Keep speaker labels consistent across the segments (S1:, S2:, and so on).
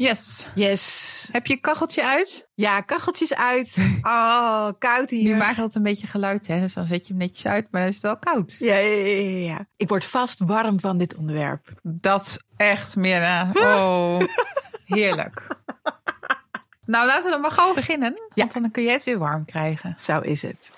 S1: Yes.
S2: Yes.
S1: Heb je kacheltje uit?
S2: Ja, kacheltjes uit. Oh, koud hier.
S1: Nu maakt dat een beetje geluid, hè? Dus dan zet je hem netjes uit, maar dan is het wel koud.
S2: Ja, ja, ja, ja, ja. Ik word vast warm van dit onderwerp.
S1: Dat echt, Mirna. Oh, heerlijk. Nou, laten we dan maar gauw beginnen. Want dan kun je het weer warm krijgen.
S2: Zo is het.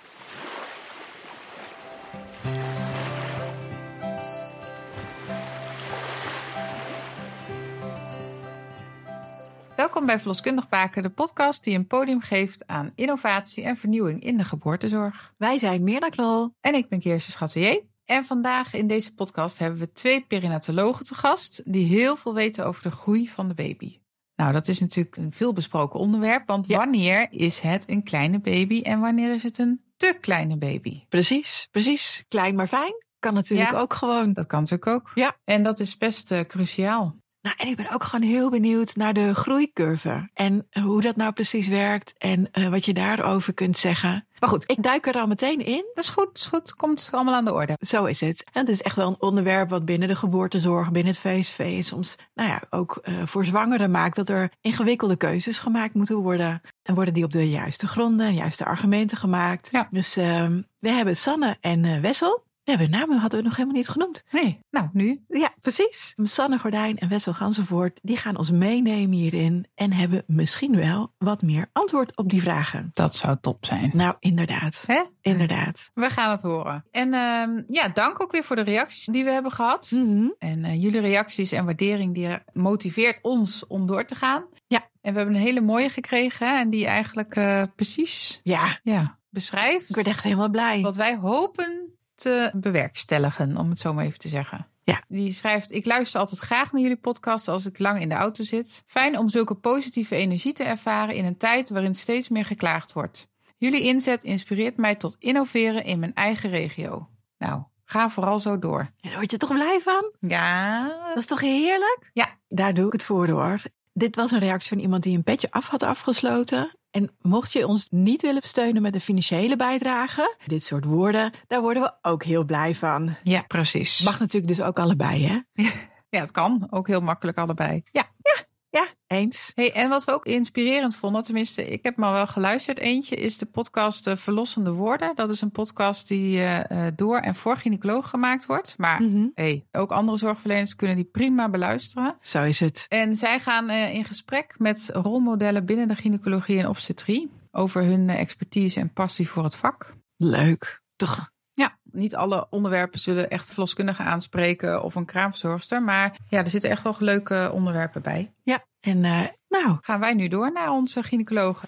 S1: Welkom bij Verloskundig Baken, de podcast die een podium geeft aan innovatie en vernieuwing in de geboortezorg.
S2: Wij zijn Mirna Knol.
S1: En ik ben Kirsten Schatelier. En vandaag in deze podcast hebben we twee perinatologen te gast die heel veel weten over de groei van de baby. Nou, dat is natuurlijk een veelbesproken onderwerp, want
S2: Ja.
S1: wanneer is het een kleine baby en wanneer is het een te kleine baby?
S2: Precies, precies. Klein maar fijn. Kan natuurlijk
S1: Ja.
S2: ook gewoon.
S1: Dat kan natuurlijk ook.
S2: Ja.
S1: En dat is best eh, cruciaal.
S2: Nou, en ik ben ook gewoon heel benieuwd naar de groeicurve. En hoe dat nou precies werkt en eh, wat je daarover kunt zeggen. Maar goed, ik duik er al meteen in.
S1: Dat is goed, dat is goed. Komt allemaal aan de orde.
S2: Zo is het. En het is echt wel een onderwerp wat binnen de geboortezorg, binnen het VSV en soms nou ja, ook eh, voor zwangeren maakt dat er ingewikkelde keuzes gemaakt moeten worden. En worden die op de juiste gronden en juiste argumenten gemaakt.
S1: Ja.
S2: Dus ehm, we hebben Sanne en eh, Wessel. We hebben namen hadden we nog helemaal niet genoemd.
S1: Nee, nou nu.
S2: Ja, precies. Sanne Gordijn en Wessel Ganzenvoort, die gaan ons meenemen hierin en hebben misschien wel wat meer antwoord op die vragen.
S1: Dat zou top zijn.
S2: Nou, inderdaad.
S1: Hè?
S2: Inderdaad.
S1: We gaan het horen. En ehm, ja, dank ook weer voor de reacties die we hebben gehad.
S2: Mhm.
S1: En eh, jullie reacties en waardering die motiveert ons om door te gaan.
S2: Ja.
S1: En we hebben een hele mooie gekregen hè, en die eigenlijk eh, precies
S2: Ja,
S1: ja, beschrijft
S2: ik werd echt helemaal blij.
S1: wat wij hopen te bewerkstelligen, om het zo maar even te zeggen.
S2: Ja.
S1: Die schrijft, ik luister altijd graag naar jullie podcast als ik lang in de auto zit. Fijn om zulke positieve energie te ervaren in een tijd waarin steeds meer geklaagd wordt. Jullie inzet inspireert mij tot innoveren in mijn eigen regio. Nou, ga vooral zo door.
S2: Ja, Daar word je toch blij van?
S1: Ja,
S2: Dat is toch heerlijk?
S1: Ja.
S2: Daar doe ik het voor hoor. Dit was een reactie van iemand die een petje af had afgesloten. En mocht je ons niet willen steunen met een financiële bijdrage, dit soort woorden, daar worden we ook heel blij van.
S1: ja precies.
S2: Mag natuurlijk dus ook allebei, hè?
S1: Ja, het kan. Ook heel makkelijk allebei. Ja.
S2: Ja, eens.
S1: Hey, en wat we ook inspirerend vonden, tenminste, ik heb maar wel geluisterd. Eentje is de podcast eh, Verlossende Woorden. Dat is een podcast die eh, eh, door en voor gynaecoloog gemaakt wordt. Maar
S2: Mhm.
S1: hey, ook andere zorgverleners kunnen die prima beluisteren.
S2: Zo is het.
S1: En zij gaan eh, in gesprek met rolmodellen binnen de gynaecologie en obstetrie over hun eh, expertise en passie voor het vak.
S2: Leuk. Toch?
S1: Ja, niet alle onderwerpen zullen echt verloskundigen aanspreken of een kraamverzorgster. Maar ja, er zitten echt wel leuke onderwerpen bij.
S2: Ja. En eh, nou,
S1: Gaan wij nu door naar onze gynaecologen.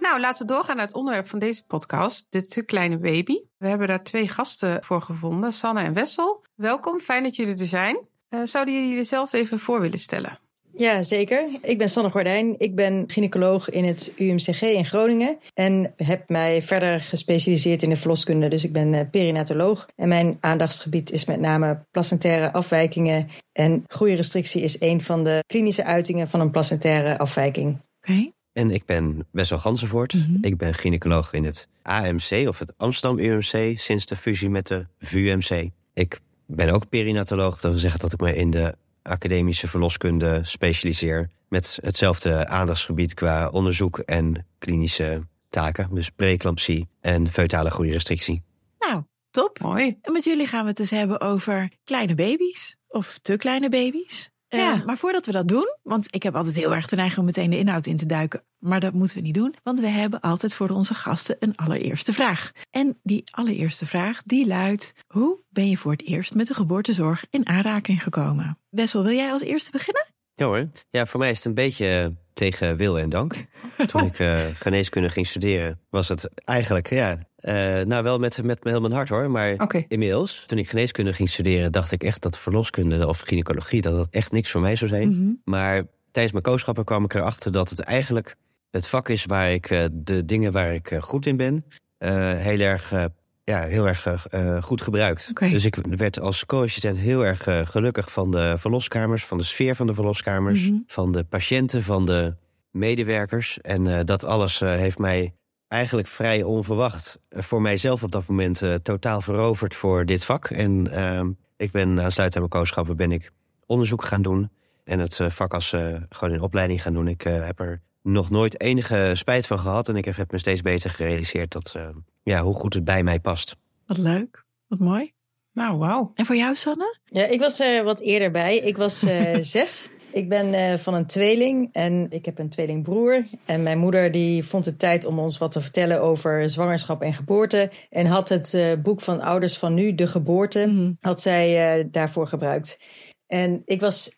S1: Nou, laten we doorgaan naar het onderwerp van deze podcast, de te kleine baby. We hebben daar twee gasten voor gevonden, Sanne en Wessel. Welkom, fijn dat jullie er zijn. Eh, zouden jullie jezelf even voor willen stellen?
S3: Ja, zeker. Ik ben Sanne Gordijn. Ik ben gynaecoloog in het UMCG in Groningen. En heb mij verder gespecialiseerd in de verloskunde. Dus ik ben eh, perinatoloog. En mijn aandachtsgebied is met name placentaire afwijkingen. En groeirestrictie is een van de klinische uitingen van een placentaire afwijking.
S2: oké.
S4: En ik ben Wessel Gansenvoort.
S2: Mhm.
S4: Ik ben gynaecoloog in het AMC of het Amsterdam UMC sinds de fusie met de VUMC. Ik ben ook perinatoloog. Dat wil zeggen dat ik me in de academische verloskunde specialiseer. Met hetzelfde aandachtsgebied qua onderzoek en klinische taken. Dus preeclampsie en feutale groeirestrictie.
S2: Nou, top.
S1: Mooi.
S2: En met jullie gaan we het dus hebben over kleine baby's of te kleine baby's. Eh,
S1: Ja.
S2: maar voordat we dat doen, want ik heb altijd heel erg de neiging om meteen de inhoud in te duiken. Maar dat moeten we niet doen, want we hebben altijd voor onze gasten een allereerste vraag. En die allereerste vraag, die luidt, hoe ben je voor het eerst met de geboortezorg in aanraking gekomen? Wessel, wil jij als eerste beginnen?
S4: Ja hoor. Ja, voor mij is het een beetje eh, tegen wil en dank. Toen ik eh, geneeskunde ging studeren, was het eigenlijk, ja... eh, nou, wel met, met heel mijn hart hoor, maar...
S1: Oké.
S4: Inmiddels, toen ik geneeskunde ging studeren, dacht ik echt dat verloskunde of gynaecologie dat dat echt niks voor mij zou zijn.
S2: Mhm.
S4: Maar tijdens mijn kooschappen kwam ik erachter dat het eigenlijk het vak is waar ik eh, de dingen waar ik eh, goed in ben, eh, heel erg, eh, ja, heel erg eh, goed gebruikt.
S2: Oké.
S4: Dus ik werd als co-assistent heel erg eh, gelukkig van de verloskamers, van de sfeer van de verloskamers,
S2: Mhm.
S4: van de patiënten, van de medewerkers. En eh, dat alles eh, heeft mij eigenlijk vrij onverwacht eh, voor mijzelf op dat moment eh, totaal veroverd voor dit vak. En ehm, ik ben aansluitend aan mijn kooschappen ben ik onderzoek gaan doen. En het eh, vak als eh, gewoon in opleiding gaan doen. Ik eh, heb er nog nooit enige spijt van gehad. En ik heb me steeds beter gerealiseerd dat, eh, ja, hoe goed het bij mij past.
S2: Wat leuk. Wat mooi.
S1: Nou, wauw.
S2: En voor jou, Sanne?
S3: Ja, ik was er wat eerder bij. Ik was eh, zes. Ik ben eh, van een tweeling en ik heb een tweelingbroer. En mijn moeder die vond het tijd om ons wat te vertellen over zwangerschap en geboorte. En had het eh, boek van Ouders van Nu, De Geboorte,
S2: Mhm.
S3: had zij eh, daarvoor gebruikt. En ik was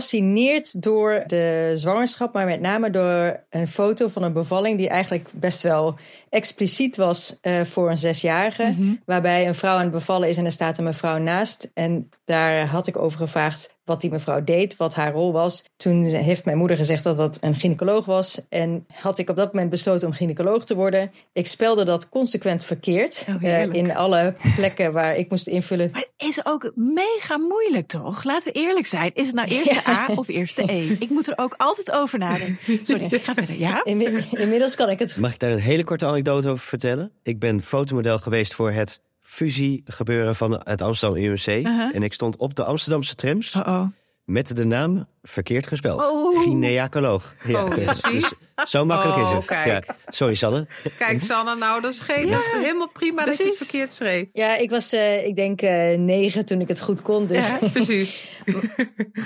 S3: gefascineerd door de zwangerschap, maar met name door een foto van een bevalling die eigenlijk best wel expliciet was eh, voor een zesjarige.
S2: Mhm.
S3: Waarbij een vrouw aan het bevallen is en er staat een mevrouw naast. En daar had ik over gevraagd wat die mevrouw deed, wat haar rol was. Toen heeft mijn moeder gezegd dat dat een gynaecoloog was. En had ik op dat moment besloten om gynaecoloog te worden. Ik spelde dat consequent verkeerd
S2: Oh,
S3: eh,
S2: heerlijk.
S3: in alle plekken waar ik moest invullen.
S2: Maar het is ook mega moeilijk, toch? Laten we eerlijk zijn. Is het nou eerste A of eerste E? Ik moet er ook altijd over nadenken. Sorry, ik ga verder. Ja?
S3: Inmi- inmiddels kan ik het goed.
S4: Mag ik daar een hele korte anekdote over vertellen? Ik ben fotomodel geweest voor het fusiegebeuren van het Amsterdam UMC.
S2: Uh-huh.
S4: En ik stond op de Amsterdamse trams.
S2: Uh-oh.
S4: Met de naam verkeerd gespeld.
S2: Oh.
S4: Gynaecoloog. Ja.
S1: Oh, ja, zie.
S4: dus zo makkelijk
S1: Oh,
S4: is het.
S1: kijk.
S4: Ja. Sorry, Sanne.
S1: Kijk, Sanne, nou, dat is, geen, dat is helemaal prima dat je het
S2: Precies.
S1: verkeerd schreef.
S3: Ja, ik was, eh, ik denk, eh, negen toen ik het goed kon. Dus
S1: Ja, precies.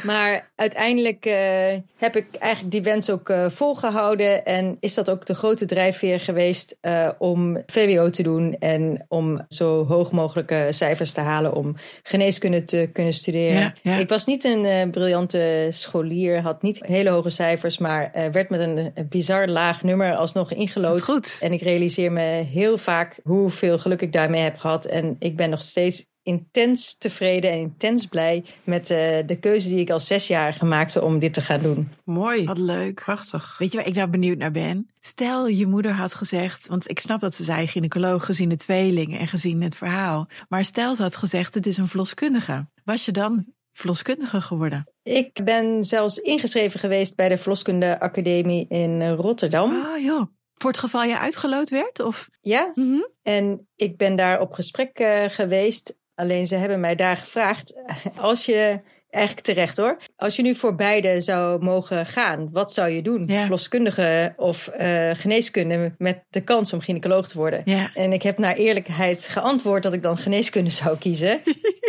S3: Maar uiteindelijk eh, heb ik eigenlijk die wens ook eh, volgehouden. En is dat ook de grote drijfveer geweest eh, om VWO te doen. En om zo hoog mogelijke cijfers te halen om geneeskunde te kunnen studeren.
S2: Ja, ja.
S3: Ik was niet een eh, briljante scholier, had niet hele hoge cijfers. Maar eh, werd met een, eh, bizar laag nummer alsnog
S2: Dat
S3: ingelood.
S2: is goed.
S3: En ik realiseer me heel vaak hoeveel geluk ik daarmee heb gehad. En ik ben nog steeds intens tevreden en intens blij met eh, de keuze die ik als zesjarige maakte om dit te gaan doen.
S1: Mooi.
S2: Wat leuk.
S1: Prachtig.
S2: Weet je waar ik nou benieuwd naar ben? Stel, je moeder had gezegd, want ik snap dat ze zei gynaecoloog gezien de tweeling en gezien het verhaal. Maar stel, ze had gezegd, het is een verloskundige. Was je dan verloskundige geworden?
S3: Ik ben zelfs ingeschreven geweest bij de Verloskunde Academie in Rotterdam.
S2: Oh joh. Voor het geval je uitgeloot werd? Of?
S3: Ja,
S2: Mhm.
S3: en ik ben daar op gesprek eh, geweest. Alleen ze hebben mij daar gevraagd, eh, als je, eigenlijk terecht hoor, als je nu voor beide zou mogen gaan, wat zou je doen?
S2: Ja.
S3: Verloskundige of eh, geneeskunde met de kans om gynaecoloog te worden?
S2: Ja.
S3: En ik heb naar eerlijkheid geantwoord dat ik dan geneeskunde zou kiezen.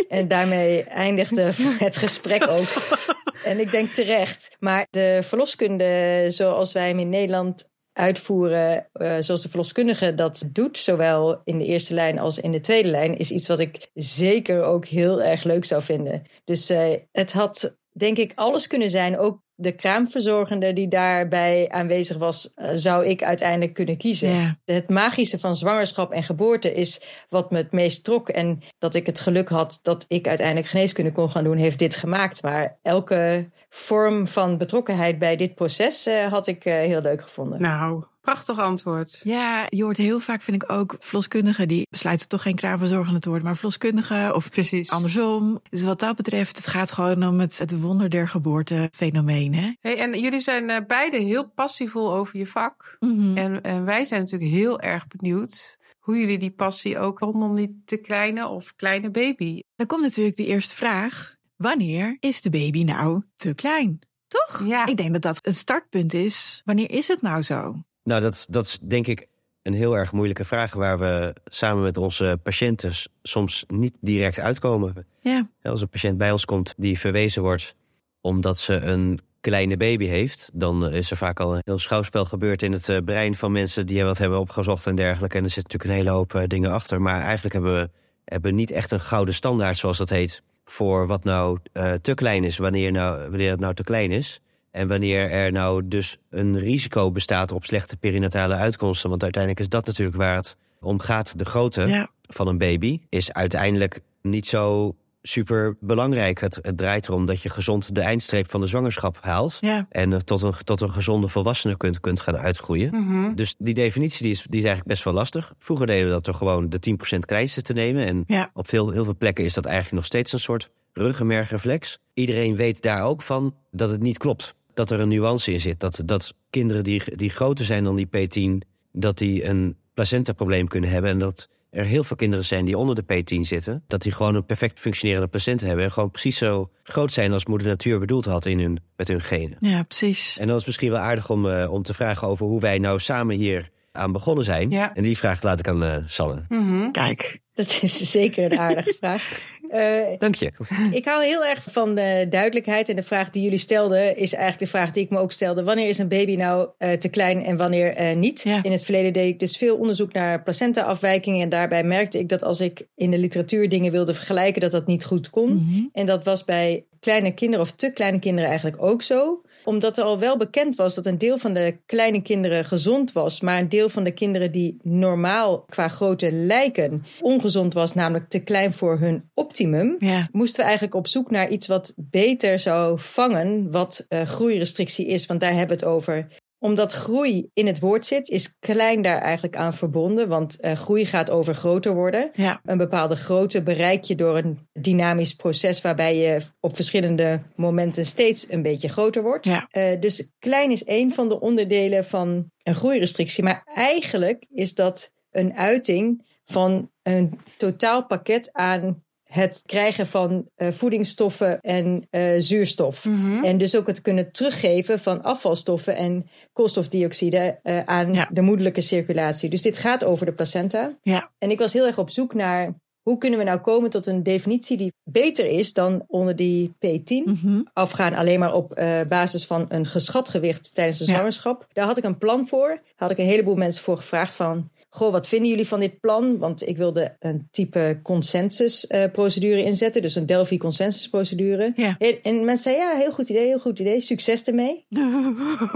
S3: en daarmee eindigde het gesprek ook. En ik denk terecht. Maar de verloskunde, zoals wij hem in Nederland uitvoeren, eh, zoals de verloskundige dat doet, zowel in de eerste lijn als in de tweede lijn, is iets wat ik zeker ook heel erg leuk zou vinden. Dus eh, het had, denk ik, alles kunnen zijn. Ook de kraamverzorgende die daarbij aanwezig was, eh, zou ik uiteindelijk kunnen kiezen
S2: Ja.
S3: het magische van zwangerschap en geboorte is wat me het meest trok. En dat ik het geluk had dat ik uiteindelijk geneeskunde kon gaan doen, heeft dit gemaakt. Maar elke vorm van betrokkenheid bij dit proces eh, had ik eh, heel leuk gevonden.
S1: Nou, prachtig antwoord.
S2: Ja, je hoort heel vaak, vind ik ook, verloskundigen die besluiten toch geen kraamverzorgende te worden, maar verloskundigen of
S1: Precies.
S2: andersom. Dus wat dat betreft, het gaat gewoon om het, het wonder der geboorte fenomeen, hè?
S1: Hey, en jullie zijn eh, beide heel passievol over je vak.
S2: Mhm.
S1: En, en wij zijn natuurlijk heel erg benieuwd hoe jullie die passie ook rondom die te kleine of kleine baby.
S2: Dan komt natuurlijk de eerste vraag. Wanneer is de baby nou te klein? Toch?
S1: Ja.
S2: Ik denk dat dat een startpunt is. Wanneer is het nou zo?
S4: Nou, dat, dat is denk ik een heel erg moeilijke vraag... waar we samen met onze patiënten s- soms niet direct uitkomen.
S2: Ja.
S4: Hè, Als een patiënt bij ons komt die verwezen wordt omdat ze een kleine baby heeft... dan eh, is er vaak al een heel schouwspel gebeurd in het eh, brein van mensen... die wat hebben opgezocht en dergelijke. En er zit natuurlijk een hele hoop eh, dingen achter. Maar eigenlijk hebben we hebben niet echt een gouden standaard, zoals dat heet... voor wat nou eh, te klein is, wanneer, nou, wanneer het nou te klein is... En wanneer er nou dus een risico bestaat op slechte perinatale uitkomsten. Want uiteindelijk is dat natuurlijk waar het om gaat. De grootte
S2: Ja.
S4: van een baby is uiteindelijk niet zo super belangrijk. Het, het draait erom dat je gezond de eindstreep van de zwangerschap haalt.
S2: Ja.
S4: En eh, tot een, tot een gezonde volwassene kunt, kunt gaan uitgroeien. Dus die definitie die is, die is eigenlijk best wel lastig. Vroeger deden we dat door gewoon de 10% kleinste te nemen. En
S2: Ja.
S4: op veel, heel veel plekken is dat eigenlijk nog steeds een soort ruggenmergreflex. Iedereen weet daar ook van dat het niet klopt. Dat er een nuance in zit. Dat, dat kinderen die, die groter zijn dan die P10 dat die een placentaprobleem kunnen hebben. En dat er heel veel kinderen zijn die onder de P10 zitten. Dat die gewoon een perfect functionerende placenta hebben. En gewoon precies zo groot zijn als moeder natuur bedoeld had in hun, met hun genen.
S2: Ja, precies.
S4: En dat is misschien wel aardig om, eh, om te vragen over hoe wij nou samen hier aan begonnen zijn.
S1: Ja.
S4: En die vraag laat ik aan eh, Sanne.
S1: Mhm.
S2: Kijk,
S3: Dat is zeker een aardige vraag. Eh,
S4: Dank je.
S3: ik hou heel erg van de duidelijkheid. En de vraag die jullie stelden is eigenlijk de vraag die ik me ook stelde. Wanneer is een baby nou eh, te klein en wanneer eh, niet?
S2: Ja.
S3: In het verleden deed ik dus veel onderzoek naar placentaafwijkingen. En daarbij merkte ik dat als ik in de literatuur dingen wilde vergelijken, dat dat niet goed kon. En dat was bij kleine kinderen of te kleine kinderen eigenlijk ook zo omdat er al wel bekend was dat een deel van de kleine kinderen gezond was, maar een deel van de kinderen die normaal qua grootte lijken ongezond was, namelijk te klein voor hun optimum,
S2: ja.
S3: moesten we eigenlijk op zoek naar iets wat beter zou vangen wat eh, groeirestrictie is, want daar hebben we het over. Omdat groei in het woord zit, is klein daar eigenlijk aan verbonden, want eh, groei gaat over groter worden.
S2: Ja,
S3: Een bepaalde grootte bereik je door een dynamisch proces waarbij je op verschillende momenten steeds een beetje groter wordt.
S2: ja.
S3: Eh, dus klein is één van de onderdelen van een groeirestrictie. Maar eigenlijk is dat een uiting van een totaal pakket aan het krijgen van eh, voedingsstoffen en eh, zuurstof.
S2: Mhm.
S3: En dus ook het kunnen teruggeven van afvalstoffen en koolstofdioxide eh, aan
S2: Ja.
S3: de moederlijke circulatie. Dus dit gaat over de placenta.
S2: Ja.
S3: En ik was heel erg op zoek naar hoe kunnen we nou komen tot een definitie die beter is dan onder die P10
S2: Mhm.
S3: afgaan alleen maar op eh, basis van een geschat gewicht tijdens de
S2: Ja.
S3: zwangerschap. Daar had ik een plan voor. Had ik een heleboel mensen voor gevraagd van... Goh, wat vinden jullie van dit plan? Want ik wilde een type consensusprocedure inzetten. Dus een Delphi consensusprocedure.
S2: Ja.
S3: En, en mensen zeiden, ja, heel goed idee, heel goed idee. Succes ermee.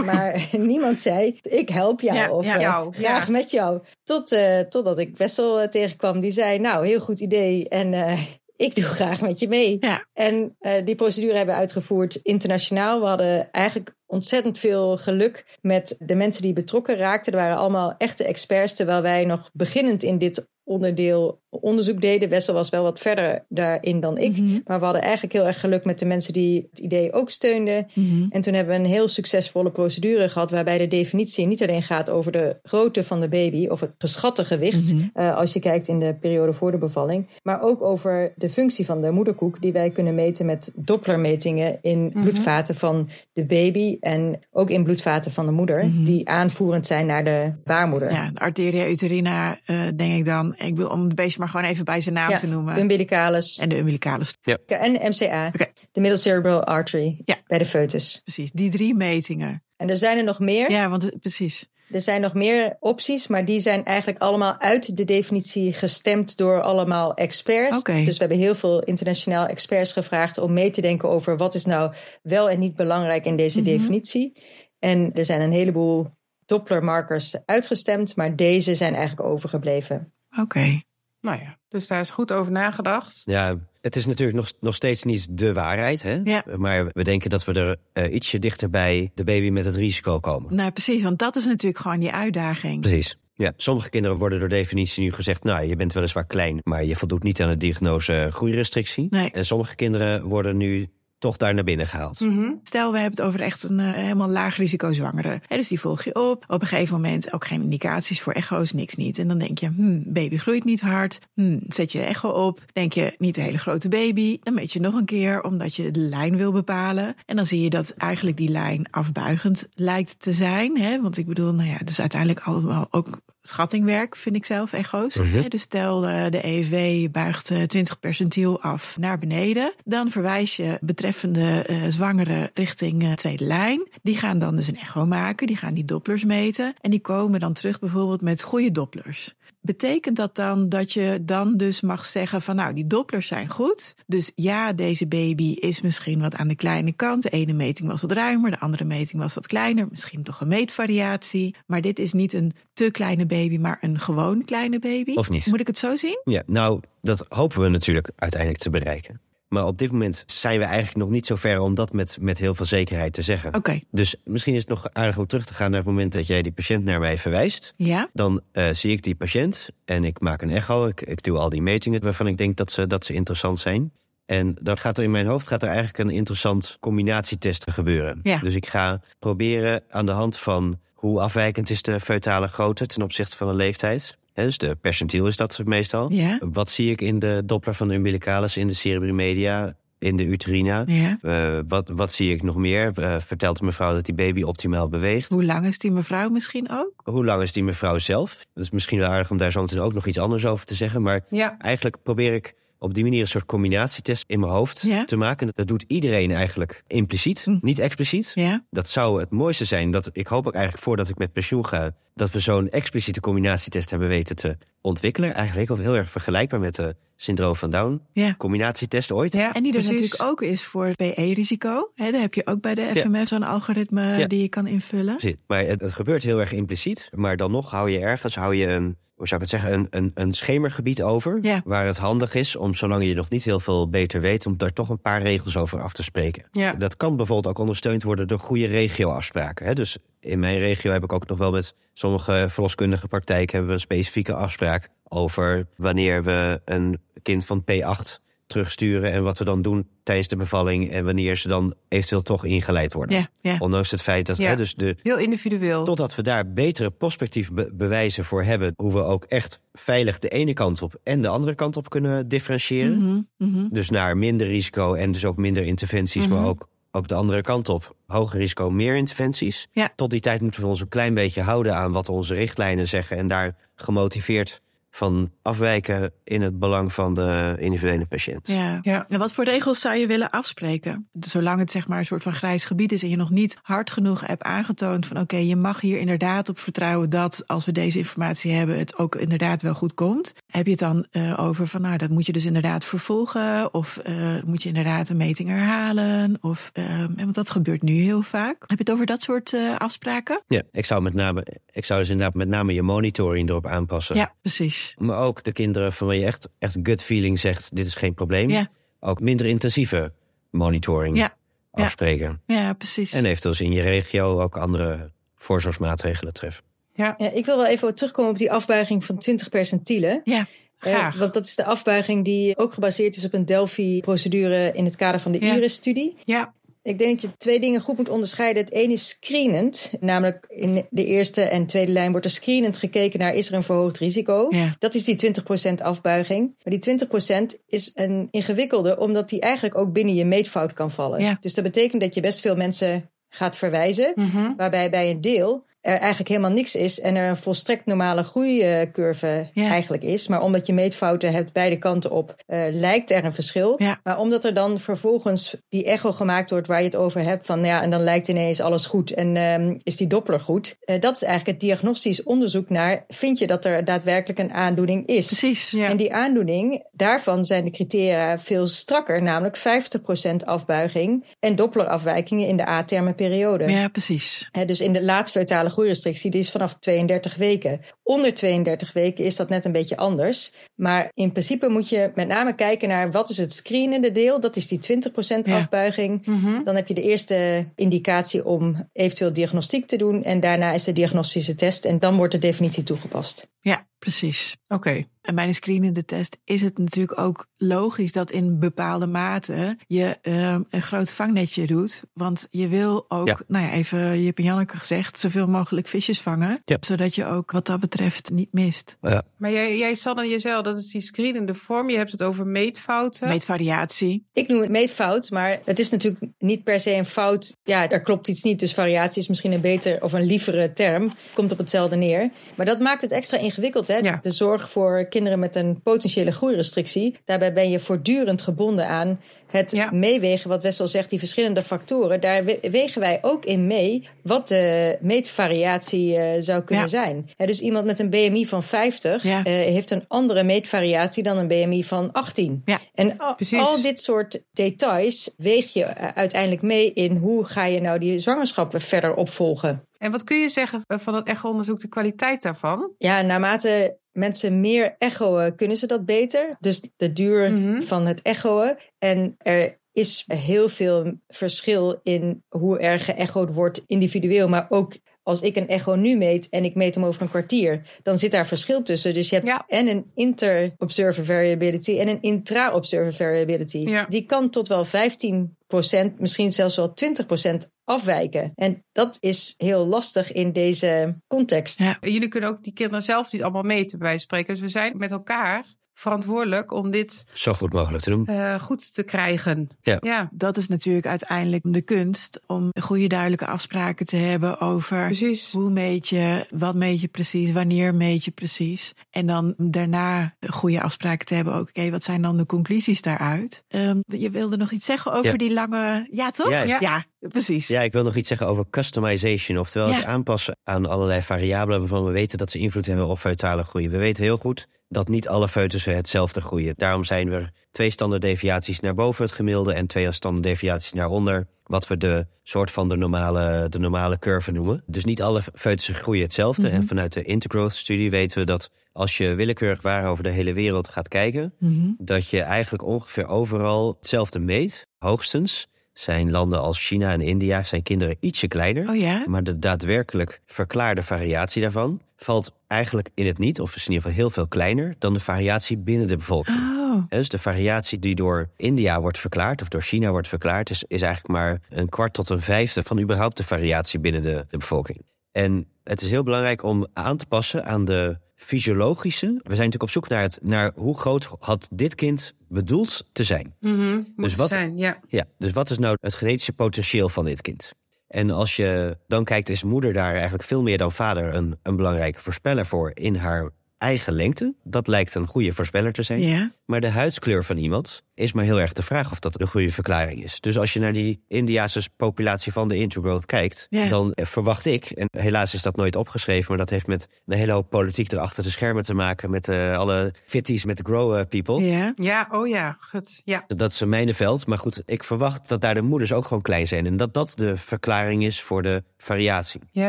S3: Maar niemand zei, ik help jou.
S2: Ja,
S3: of
S2: ja.
S3: eh,
S1: Jou, ja.
S3: graag met jou. Tot, eh, totdat ik Wessel eh, tegenkwam. Die zei, nou, heel goed idee. En eh, ik doe graag met je mee.
S2: Ja.
S3: En eh, die procedure hebben we uitgevoerd internationaal. We hadden eigenlijk ontzettend veel geluk met de mensen die betrokken raakten. Er waren allemaal echte experts, terwijl wij nog beginnend in dit onderdeel onderzoek deden. Wessel was wel wat verder daarin dan ik.
S2: Mhm.
S3: Maar we hadden eigenlijk heel erg geluk met de mensen die het idee ook steunden.
S2: Mhm.
S3: En toen hebben we een heel succesvolle procedure gehad, waarbij de definitie niet alleen gaat over de grootte van de baby of het geschatte gewicht,
S2: Mhm.
S3: eh, als je kijkt in de periode voor de bevalling, maar ook over de functie van de moederkoek, die wij kunnen meten met Dopplermetingen in
S2: Mhm.
S3: bloedvaten van de baby en ook in bloedvaten van de moeder, die aanvoerend zijn naar de baarmoeder.
S2: Mhm. Ja, de arteria uterina, eh, denk ik dan. Ik wil om het beestje maar gewoon even bij zijn naam
S3: Ja,
S2: te noemen.
S3: umbilicalis
S2: En de umbilicalis,
S3: en MCA,
S2: Oké.
S3: de middle cerebral artery
S2: Ja.
S3: bij de foetus.
S2: precies. Die drie metingen.
S3: En er zijn er nog meer.
S2: Ja, want het- precies.
S3: Er zijn nog meer opties, maar die zijn eigenlijk allemaal uit de definitie gestemd door allemaal experts.
S2: Oké.
S3: Dus we hebben heel veel internationaal experts gevraagd om mee te denken over wat is nou wel en niet belangrijk in deze
S2: Mhm.
S3: definitie. En er zijn een heleboel Dopplermarkers uitgestemd, maar deze zijn eigenlijk overgebleven.
S2: Oké.
S1: Nou ja, dus daar is goed over nagedacht.
S4: Ja, het is natuurlijk nog, nog steeds niet de waarheid. Hè?
S2: Ja.
S4: Maar we denken dat we er eh, ietsje dichter bij de baby met het risico komen.
S2: Nou, precies. Want dat is natuurlijk gewoon die uitdaging.
S4: Precies. Ja, sommige kinderen worden door definitie nu gezegd... nou, je bent weliswaar klein, maar je voldoet niet aan de diagnose groeirestrictie.
S2: Nee. Hm.
S4: En sommige kinderen worden nu toch daar naar binnen gehaald.
S2: Stel, we hebben het over echt een eh, helemaal laag risico zwangere. Hè, dus die volg je op. Op een gegeven moment ook geen indicaties voor echo's, niks niet. En dan denk je, hmm, baby groeit niet hard. Hmm, zet je echo op. Denk je, niet een hele grote baby. Dan meet je nog een keer, omdat je de lijn wil bepalen. En dan zie je dat eigenlijk die lijn afbuigend lijkt te zijn. Hè? Want ik bedoel, nou ja, dus uiteindelijk allemaal ook schattingwerk, vind ik zelf, echo's. Hè, Dus stel eh, de EFW buigt eh, 20 percentiel af naar beneden. Dan verwijs je betreffende eh, zwangeren richting eh, tweede lijn. Die gaan dan dus een echo maken, die gaan die dopplers meten. En die komen dan terug bijvoorbeeld met goede dopplers. Betekent dat dan dat je dan dus mag zeggen van nou, die dopplers zijn goed. Dus ja, deze baby is misschien wat aan de kleine kant. De ene meting was wat ruimer, de andere meting was wat kleiner. Misschien toch een meetvariatie. Maar dit is niet een te kleine baby, maar een gewoon kleine baby.
S4: Of niet?
S2: Moet ik het zo zien?
S4: Ja, nou, dat hopen we natuurlijk uiteindelijk te bereiken. Maar op dit moment zijn we eigenlijk nog niet zo ver om dat met, met heel veel zekerheid te zeggen.
S2: Oké,
S4: Dus misschien is het nog aardig om terug te gaan naar het moment dat jij die patiënt naar mij verwijst.
S2: ja.
S4: Dan eh, zie ik die patiënt en ik maak een echo. Ik, ik doe al die metingen waarvan ik denk dat ze, dat ze interessant zijn. En dan gaat er in mijn hoofd gaat er eigenlijk een interessant combinatietest gebeuren.
S2: Ja.
S4: Dus ik ga proberen aan de hand van hoe afwijkend is de feutale grootte ten opzichte van de leeftijd? Hè, dus de percentiel is dat meestal.
S2: Ja.
S4: Wat zie ik in de doppler van de umbilicalis, in de cerebrimedia, in de uterina?
S2: Ja.
S4: Eh, wat, wat zie ik nog meer? Eh, vertelt de mevrouw dat die baby optimaal beweegt?
S2: Hoe lang is die mevrouw misschien ook?
S4: Hoe lang is die mevrouw zelf? Dat is misschien wel aardig om daar zo meteen ook nog iets anders over te zeggen. Maar
S1: Ja,
S4: eigenlijk probeer ik op die manier een soort combinatietest in mijn hoofd
S2: Ja.
S4: te maken. Dat doet iedereen eigenlijk impliciet,
S2: Hm.
S4: niet expliciet.
S2: Ja.
S4: Dat zou het mooiste zijn. Dat, ik hoop ook eigenlijk voordat ik met pensioen ga... dat we zo'n expliciete combinatietest hebben weten te ontwikkelen. Eigenlijk wel heel erg vergelijkbaar met de syndroom van Down.
S2: Ja.
S4: Combinatietest ooit.
S1: ja
S2: En die er
S1: precies.
S2: natuurlijk ook is voor BE-risico. Daar heb je ook bij de
S4: Ja.
S2: FMF zo'n algoritme
S4: Ja.
S2: die je kan invullen.
S4: Precies. Maar het, het gebeurt heel erg impliciet. Maar dan nog hou je ergens hou je een, hoe zou ik het zeggen, een, een, een schemergebied over.
S2: Ja.
S4: Waar het handig is om, zolang je nog niet heel veel beter weet, om daar toch een paar regels over af te spreken.
S1: Ja.
S4: Dat kan bijvoorbeeld ook ondersteund worden door goede regioafspraken. Hè? Dus in mijn regio heb ik ook nog wel met sommige verloskundige praktijken hebben we een specifieke afspraak over wanneer we een kind van P8 terugsturen en wat we dan doen tijdens de bevalling en wanneer ze dan eventueel toch ingeleid worden.
S2: Ja, ja.
S4: Ondanks het feit dat
S1: Ja.
S4: hè, dus de,
S1: Heel individueel.
S4: Totdat we daar betere prospectief be- bewijzen voor hebben. Hoe we ook echt veilig de ene kant op en de andere kant op kunnen differentiëren.
S2: Mhm, mhm.
S4: Dus naar minder risico en dus ook minder interventies. Maar ook, ook de andere kant op. Hoger risico, meer interventies.
S2: Ja.
S4: Tot die tijd moeten we ons een klein beetje houden aan wat onze richtlijnen zeggen. En daar gemotiveerd van afwijken in het belang van de individuele patiënt.
S2: Ja.
S1: Ja.
S2: En wat voor regels zou je willen afspreken? Zolang het zeg maar een soort van grijs gebied is en je nog niet hard genoeg hebt aangetoond van oké, je mag hier inderdaad op vertrouwen dat als we deze informatie hebben, het ook inderdaad wel goed komt. Heb je het dan eh, over van nou, dat moet je dus inderdaad vervolgen of eh, moet je inderdaad een meting herhalen? Of, eh, want dat gebeurt nu heel vaak. Heb je het over dat soort eh, afspraken?
S4: Ja, ik zou, met name, ik zou dus inderdaad met name je monitoring erop aanpassen.
S2: Ja, precies.
S4: Maar ook de kinderen van wie je echt, echt gut feeling zegt: dit is geen probleem.
S2: Ja.
S4: Ook minder intensieve monitoring
S2: Ja. Ja.
S4: afspreken.
S2: Ja, precies.
S4: En eventueel dus in je regio ook andere voorzorgsmaatregelen treffen.
S1: Ja,
S3: Ja, ik wil wel even terugkomen op die afbuiging van 20 percentielen.
S2: Ja,
S3: Eh,
S1: graag.
S3: want dat is de afbuiging die ook gebaseerd is op een Delphi-procedure in het kader van de
S2: Ja.
S3: IRIS-studie.
S1: ja,
S3: Ik denk dat je twee dingen goed moet onderscheiden. Het een is screenend, namelijk in de eerste en tweede lijn wordt er screenend gekeken naar is er een verhoogd risico.
S2: Ja.
S3: Dat is die 20% afbuiging. Maar die 20% is een ingewikkelde, omdat die eigenlijk ook binnen je meetfout kan vallen.
S2: Ja.
S3: Dus dat betekent dat je best veel mensen gaat verwijzen,
S1: Mhm.
S3: waarbij bij een deel er eigenlijk helemaal niks is en er een volstrekt normale groeicurve
S2: Ja.
S3: eigenlijk is. Maar omdat je meetfouten hebt beide kanten op, eh, lijkt er een verschil.
S2: Ja.
S3: Maar omdat er dan vervolgens die echo gemaakt wordt waar je het over hebt, van ja, en dan lijkt ineens alles goed en ehm, is die Doppler goed. Eh, dat is eigenlijk het diagnostisch onderzoek naar, vind je dat er daadwerkelijk een aandoening is?
S2: precies.
S1: ja.
S3: En die aandoening, daarvan zijn de criteria veel strakker, namelijk 50% afbuiging en Dopplerafwijkingen in de A-terme periode.
S2: Ja, precies.
S3: Hè, dus in de laatfeutale groeirestrictie, die is vanaf 32 weken. Onder 32 weken is dat net een beetje anders. Maar in principe moet je met name kijken naar wat is het screenende deel. Dat is die 20%
S2: Ja.
S3: afbuiging.
S1: Mhm.
S3: Dan heb je de eerste indicatie om eventueel diagnostiek te doen. En daarna is de diagnostische test. En dan wordt de definitie toegepast.
S2: Ja, precies.
S1: Oké.
S2: En bij een screenende test is het natuurlijk ook logisch dat in bepaalde mate je ehm, een groot vangnetje doet. Want je wil ook,
S4: Ja.
S2: nou ja, even je hebt en Janneke gezegd, zoveel mogelijk visjes vangen.
S4: Ja.
S2: Zodat je ook wat dat betreft niet mist.
S1: Maar jij, jij Sanne, jij zei al, dat is die screenende vorm. Je hebt het over meetfouten.
S2: Meet variatie.
S3: Ik noem het meetfout, maar het is natuurlijk niet per se een fout. Ja, er klopt iets niet, dus variatie is misschien een beter of een lievere term. Komt op hetzelfde neer. Maar dat maakt het extra ingewikkeld, hè?
S1: Ja.
S3: De zorg voor kinderen met een potentiële groeirestrictie. Daarbij ben je voortdurend gebonden aan het
S1: Ja.
S3: meewegen, wat Wessel zegt, die verschillende factoren. Daar we- wegen wij ook in mee wat de meetvariatie eh, zou kunnen
S2: Ja.
S3: zijn. Hè, dus iemand met een BMI van 50
S2: Ja.
S3: eh, heeft een andere meetvariatie dan een BMI van 18.
S2: Ja.
S3: En al,
S1: Precies.
S3: al dit soort details weeg je eh, uiteindelijk mee in hoe ga je nou die zwangerschappen verder opvolgen.
S1: En wat kun je zeggen eh, van dat echo-onderzoek, de kwaliteit daarvan?
S3: Ja, naarmate mensen meer echoen, kunnen ze dat beter. Dus de duur
S1: Mhm.
S3: van het echoen. En er is heel veel verschil in hoe er geëchoed wordt individueel, maar ook. Als ik een echo nu meet en ik meet hem over een kwartier, dan zit daar verschil tussen. Dus je hebt
S1: Ja.
S3: en een inter-observer variability en een intra-observer variability.
S1: Ja.
S3: Die kan tot wel 15%, misschien zelfs wel 20% afwijken. En dat is heel lastig in deze context.
S2: Ja.
S1: Jullie kunnen ook die kinderen zelf niet allemaal meten, bij wijze van spreken. Dus we zijn met elkaar verantwoordelijk om dit
S4: Zo goed mogelijk te doen.
S1: eh, goed te krijgen.
S4: Ja.
S1: ja,
S2: Dat is natuurlijk uiteindelijk de kunst om goede duidelijke afspraken te hebben over
S1: precies.
S2: Hoe meet je, wat meet je precies, wanneer meet je precies? En dan daarna goede afspraken te hebben. Oké, wat zijn dan de conclusies daaruit? Ehm, je wilde nog iets zeggen over
S4: Ja.
S2: die lange. Ja, toch?
S4: Ja.
S1: Ja.
S2: precies.
S4: Ja, ik wil nog iets zeggen over customization. Oftewel
S2: Ja.
S4: het aanpassen aan allerlei variabelen waarvan we weten dat ze invloed hebben op feutale groei. We weten heel goed dat niet alle foetussen hetzelfde groeien. Daarom zijn er twee standaarddeviaties naar boven het gemiddelde en twee standaarddeviaties naar onder. Wat we de soort van de normale, de normale curve noemen. Dus niet alle foetussen groeien hetzelfde. En vanuit de intergrowth studie weten we dat als je willekeurig waar over de hele wereld gaat kijken,
S2: Mhm.
S4: dat je eigenlijk ongeveer overal hetzelfde meet. Hoogstens zijn landen als China en India zijn kinderen ietsje kleiner.
S2: Oh ja?
S4: Maar de daadwerkelijk verklaarde variatie daarvan valt eigenlijk in het niet, of is in ieder geval heel veel kleiner, dan de variatie binnen de bevolking.
S2: Oh,
S4: En Dus de variatie die door India wordt verklaard of door China wordt verklaard, is, is eigenlijk maar een kwart tot een vijfde van überhaupt de variatie binnen de, de bevolking. En het is heel belangrijk om aan te passen aan de fysiologische. We zijn natuurlijk op zoek naar, het, naar hoe groot had dit kind bedoeld te zijn.
S1: Mhm, moet
S4: Dus
S1: het
S4: wat-
S1: zijn, ja.
S4: Ja, dus wat is nou het genetische potentieel van dit kind? En als je dan kijkt, is moeder daar eigenlijk veel meer dan vader een, een belangrijke voorspeller voor in haar eigen lengte. Dat lijkt een goede voorspeller te zijn.
S2: ja.
S4: Maar de huidskleur van iemand is maar heel erg de vraag of dat een goede verklaring is. Dus als je naar die Indiase populatie van de intergrowth kijkt,
S2: Ja.
S4: dan eh, verwacht ik, en helaas is dat nooit opgeschreven, maar dat heeft met een hele hoop politiek erachter de schermen te maken, met eh, alle fitties met de grow eh, people.
S2: Ja.
S1: Ja, oh ja, gut. Ja,
S4: Dat is een mijnenveld. Maar goed, ik verwacht dat daar de moeders ook gewoon klein zijn. En dat dat de verklaring is voor de variatie.
S1: ja,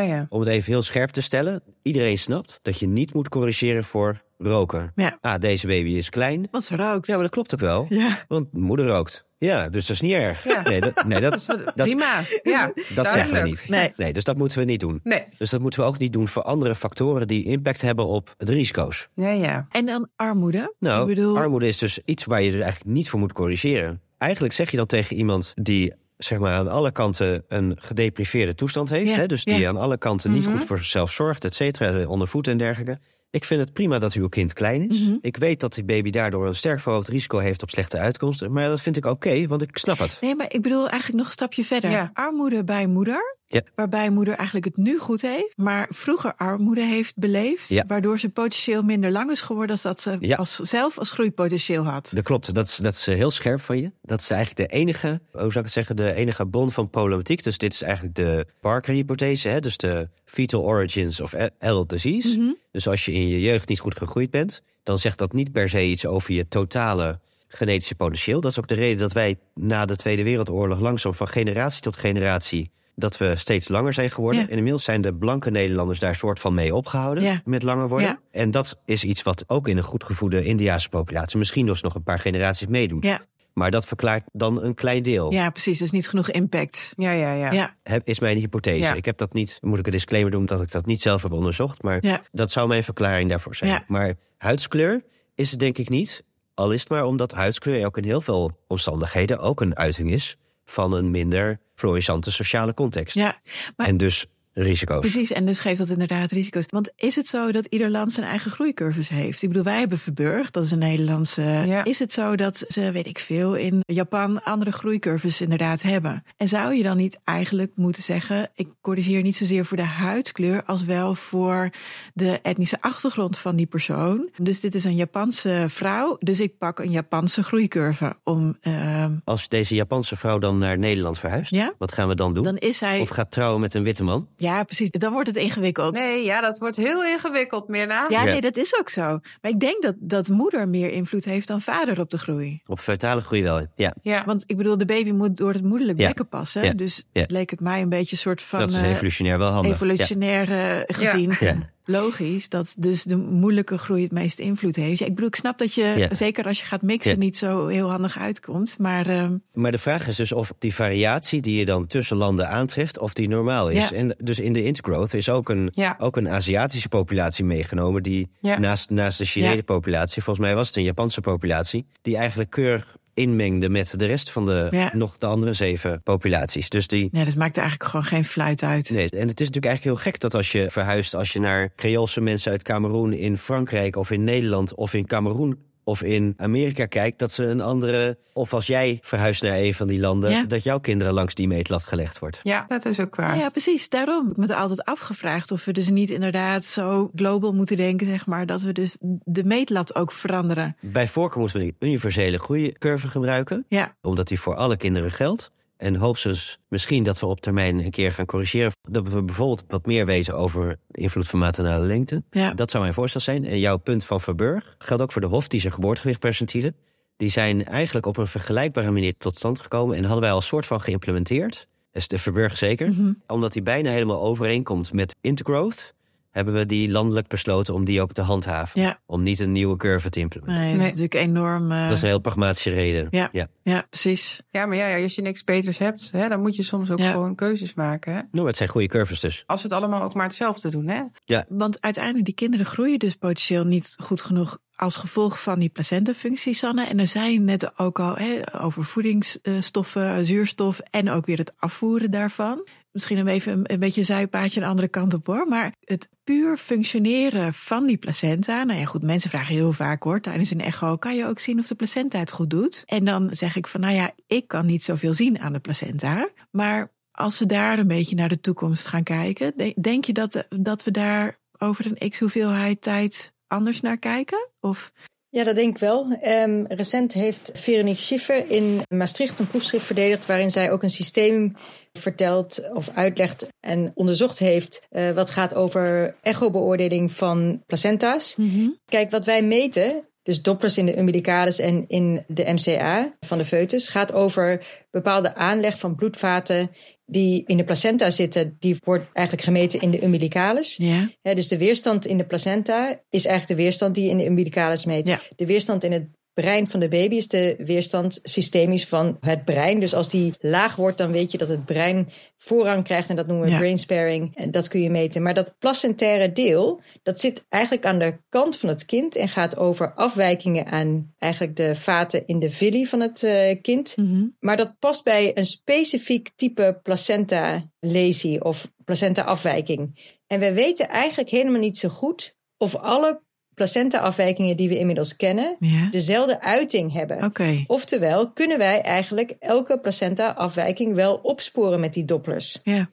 S1: ja.
S4: Om het even heel scherp te stellen. Iedereen snapt dat je niet moet corrigeren voor roken.
S2: Ja.
S4: Ah, deze baby is klein.
S2: Want ze rookt.
S4: Ja, maar dat klopt ook wel.
S2: Ja.
S4: Want moeder rookt. Ja, dus dat is niet erg.
S1: Ja.
S4: Nee, dat, nee, dat, dat,
S1: Prima. Ja,
S4: dat zeggen we
S1: duidelijk.
S4: niet.
S2: Nee.
S4: nee, dus dat moeten we niet doen.
S1: Nee,
S4: Dus dat moeten we ook niet doen voor andere factoren die impact hebben op de risico's.
S1: ja, ja.
S2: En dan armoede.
S4: Nou,
S2: ik bedoel,
S4: armoede is dus iets waar je er eigenlijk niet voor moet corrigeren. Eigenlijk zeg je dan tegen iemand die zeg maar, aan alle kanten een gedepriveerde toestand heeft...
S2: Ja,
S4: hè, dus die
S2: ja.
S4: aan alle kanten niet goed voor zichzelf zorgt, et cetera, onder voet en dergelijke... Ik vind het prima dat uw kind klein is. Ik weet dat die baby daardoor een sterk verhoogd risico heeft op slechte uitkomsten. Maar dat vind ik oké, want ik snap het.
S2: Nee, maar ik bedoel eigenlijk nog een stapje verder.
S1: Ja.
S2: Armoede bij moeder.
S4: Ja.
S2: Waarbij moeder eigenlijk het nu goed heeft, maar vroeger armoede heeft beleefd.
S4: Ja.
S2: Waardoor ze potentieel minder lang is geworden dan dat ze
S4: Ja.
S2: als, zelf als groeipotentieel had.
S4: Dat klopt, dat is, dat is eh, heel scherp van je. Dat is eigenlijk de enige, hoe zou ik het zeggen, de enige bron van problematiek. Dus dit is eigenlijk de Parker-hypothese, hè? dus de fetal origins of a- adult disease.
S2: Mhm.
S4: Dus als je in je jeugd niet goed gegroeid bent, dan zegt dat niet per se iets over je totale genetische potentieel. Dat is ook de reden dat wij na de Tweede Wereldoorlog langzaam van generatie tot generatie dat we steeds langer zijn geworden.
S2: Ja.
S4: En inmiddels zijn de blanke Nederlanders daar soort van mee opgehouden
S2: Ja.
S4: met langer worden.
S2: Ja.
S4: En dat is iets wat ook in een goed gevoede Indiase populatie misschien dus nog een paar generaties meedoet.
S2: Ja,
S4: Maar dat verklaart dan een klein deel.
S2: ja precies. Dat is niet genoeg impact.
S1: Ja, ja, ja.
S2: Ja, ja.
S4: Heb, is mijn hypothese.
S1: Ja.
S4: Ik heb dat niet, moet ik een disclaimer doen dat ik dat niet zelf heb onderzocht. Maar
S2: Ja.
S4: dat zou mijn verklaring daarvoor zijn.
S2: Ja.
S4: Maar huidskleur is het denk ik niet. Al is het maar omdat huidskleur ook in heel veel omstandigheden ook een uiting is van een minder florissante sociale context.
S2: Maar
S4: En dus risico's.
S2: precies. En dus geeft dat inderdaad risico's. Want is het zo dat ieder land zijn eigen groeicurves heeft? Ik bedoel, wij hebben Verburg, dat is een Nederlandse.
S1: Ja.
S2: Is het zo dat ze, weet ik veel, in Japan andere groeicurves inderdaad hebben? En zou je dan niet eigenlijk moeten zeggen: ik corrigeer niet zozeer voor de huidskleur, als wel voor de etnische achtergrond van die persoon? Dus dit is een Japanse vrouw, dus ik pak een Japanse groeicurve om. ehm,
S4: Als deze Japanse vrouw dan naar Nederland verhuist,
S2: Ja.
S4: wat gaan we dan doen?
S2: dan is zij.
S4: Of gaat trouwen met een witte man?
S2: Ja, precies. Dan wordt het ingewikkeld.
S1: Nee, ja, dat wordt heel ingewikkeld, Mirna.
S2: Ja,
S4: Ja.
S2: nee, dat is ook zo. Maar ik denk dat, dat moeder meer invloed heeft dan vader op de groei.
S4: Op feutale groei wel, ja.
S1: Ja.
S2: Want ik bedoel, de baby moet door het moederlijk
S4: Ja.
S2: bekken passen.
S4: Ja.
S2: Dus
S4: Ja.
S2: leek het mij een beetje een soort van
S4: dat is
S2: eh,
S4: evolutionair wel handig.
S2: evolutionair eh, gezien.
S4: Ja.
S2: Logisch dat dus de moeilijke groei het meest invloed heeft. Ja, ik bedoel, ik snap dat je,
S4: Ja.
S2: zeker als je gaat mixen,
S4: Ja.
S2: niet zo heel handig uitkomt. Maar ehm,
S4: Ja. Maar de vraag is dus of die variatie die je dan tussen landen aantreft, of die normaal is.
S2: Ja.
S4: En dus in de intergrowth is ook een,
S1: Ja.
S4: ook een Aziatische populatie meegenomen, die
S1: Ja.
S4: naast, naast de Chinese
S2: Ja.
S4: populatie, volgens mij was het een Japanse populatie, die eigenlijk keurig inmengde met de rest van de,
S2: Ja.
S4: nog de andere zeven populaties. Dus die.
S2: Nee, dat maakt eigenlijk gewoon geen fluit uit.
S4: Nee, en het is natuurlijk eigenlijk heel gek dat als je verhuist, als je naar Creoolse mensen uit Cameroen in Frankrijk of in Nederland of in Cameroen of in Amerika kijkt, dat ze een andere. Of als jij verhuist naar een van die landen,
S2: Ja.
S4: dat jouw kinderen langs die meetlat gelegd wordt.
S1: Ja, dat is ook waar.
S2: Ah, Ja, precies. Daarom heb ik me altijd afgevraagd of we dus niet inderdaad zo global moeten denken, zeg maar, dat we dus de meetlat ook veranderen.
S4: Bij voorkeur moeten we een universele groeicurve gebruiken.
S2: Ja,
S4: omdat die voor alle kinderen geldt. En hoogstens misschien dat we op termijn een keer gaan corrigeren. Dat we bijvoorbeeld wat meer weten over de invloed van maternale lengte.
S2: ja.
S4: Dat zou mijn voorstel zijn. En jouw punt van Verburg geldt ook voor de Hoftische geboortegewichtpercentielen. Die zijn eigenlijk op een vergelijkbare manier tot stand gekomen. En hadden wij al een soort van geïmplementeerd. Dat is de Verburg zeker.
S2: Mhm.
S4: Omdat die bijna helemaal overeenkomt met Intergrowth. Hebben we die landelijk besloten om die ook te handhaven.
S2: Ja.
S4: Om niet een nieuwe curve te implementeren.
S2: Nee, dat is
S1: Nee.
S2: natuurlijk enorm. eh,
S4: Dat is een heel pragmatische reden.
S2: Ja. Ja, precies.
S1: Ja, maar ja, ja, als je niks beters hebt, hè, dan moet je soms ook
S2: Ja.
S1: gewoon keuzes maken. Hè?
S4: Nou, het zijn goede curves dus.
S1: Als we het allemaal ook maar hetzelfde doen, hè?
S2: Want uiteindelijk, die kinderen groeien dus potentieel niet goed genoeg als gevolg van die placentafunctie, Sanne. En er zijn net ook al hè, over voedingsstoffen, eh, zuurstof en ook weer het afvoeren daarvan. Misschien een even een, een beetje een zijpaadje een andere kant op hoor. Maar het puur functioneren van die placenta. Nou ja, goed, mensen vragen heel vaak hoor. Tijdens een echo kan je ook zien of de placenta het goed doet. En dan zeg ik van, nou ja, ik kan niet zoveel zien aan de placenta. Maar als we daar een beetje naar de toekomst gaan kijken, de- denk je dat, dat we daar over een x hoeveelheid tijd anders naar kijken? Of
S3: Ja, dat denk ik wel. Ehm, recent heeft Veronique Schiffer in Maastricht een proefschrift verdedigd waarin zij ook een systeem vertelt of uitlegt en onderzocht heeft eh, wat gaat over echobeoordeling van placenta's. Kijk, wat wij meten, dus dopplers in de umbilicalis en in de MCA van de foetus, gaat over bepaalde aanleg van bloedvaten die in de placenta zitten. Die wordt eigenlijk gemeten in de umbilicalis.
S2: ja,
S3: Hè, dus de weerstand in de placenta is eigenlijk de weerstand die je in de umbilicalis meet.
S2: Ja.
S3: De weerstand in het brein van de baby is de weerstand systemisch van het brein. Dus als die laag wordt, dan weet je dat het brein voorrang krijgt. En dat noemen we
S2: Ja.
S3: brain sparing. En dat kun je meten. Maar dat placentaire deel, dat zit eigenlijk aan de kant van het kind. En gaat over afwijkingen aan eigenlijk de vaten in de villi van het eh, kind. Maar dat past bij een specifiek type placenta lesie of placenta afwijking. En we weten eigenlijk helemaal niet zo goed of alle placenta afwijkingen die we inmiddels kennen
S2: ja.
S3: dezelfde uiting hebben.
S2: Oké,
S3: Oftewel, kunnen wij eigenlijk elke placenta afwijking wel opsporen met die dopplers?
S2: ja.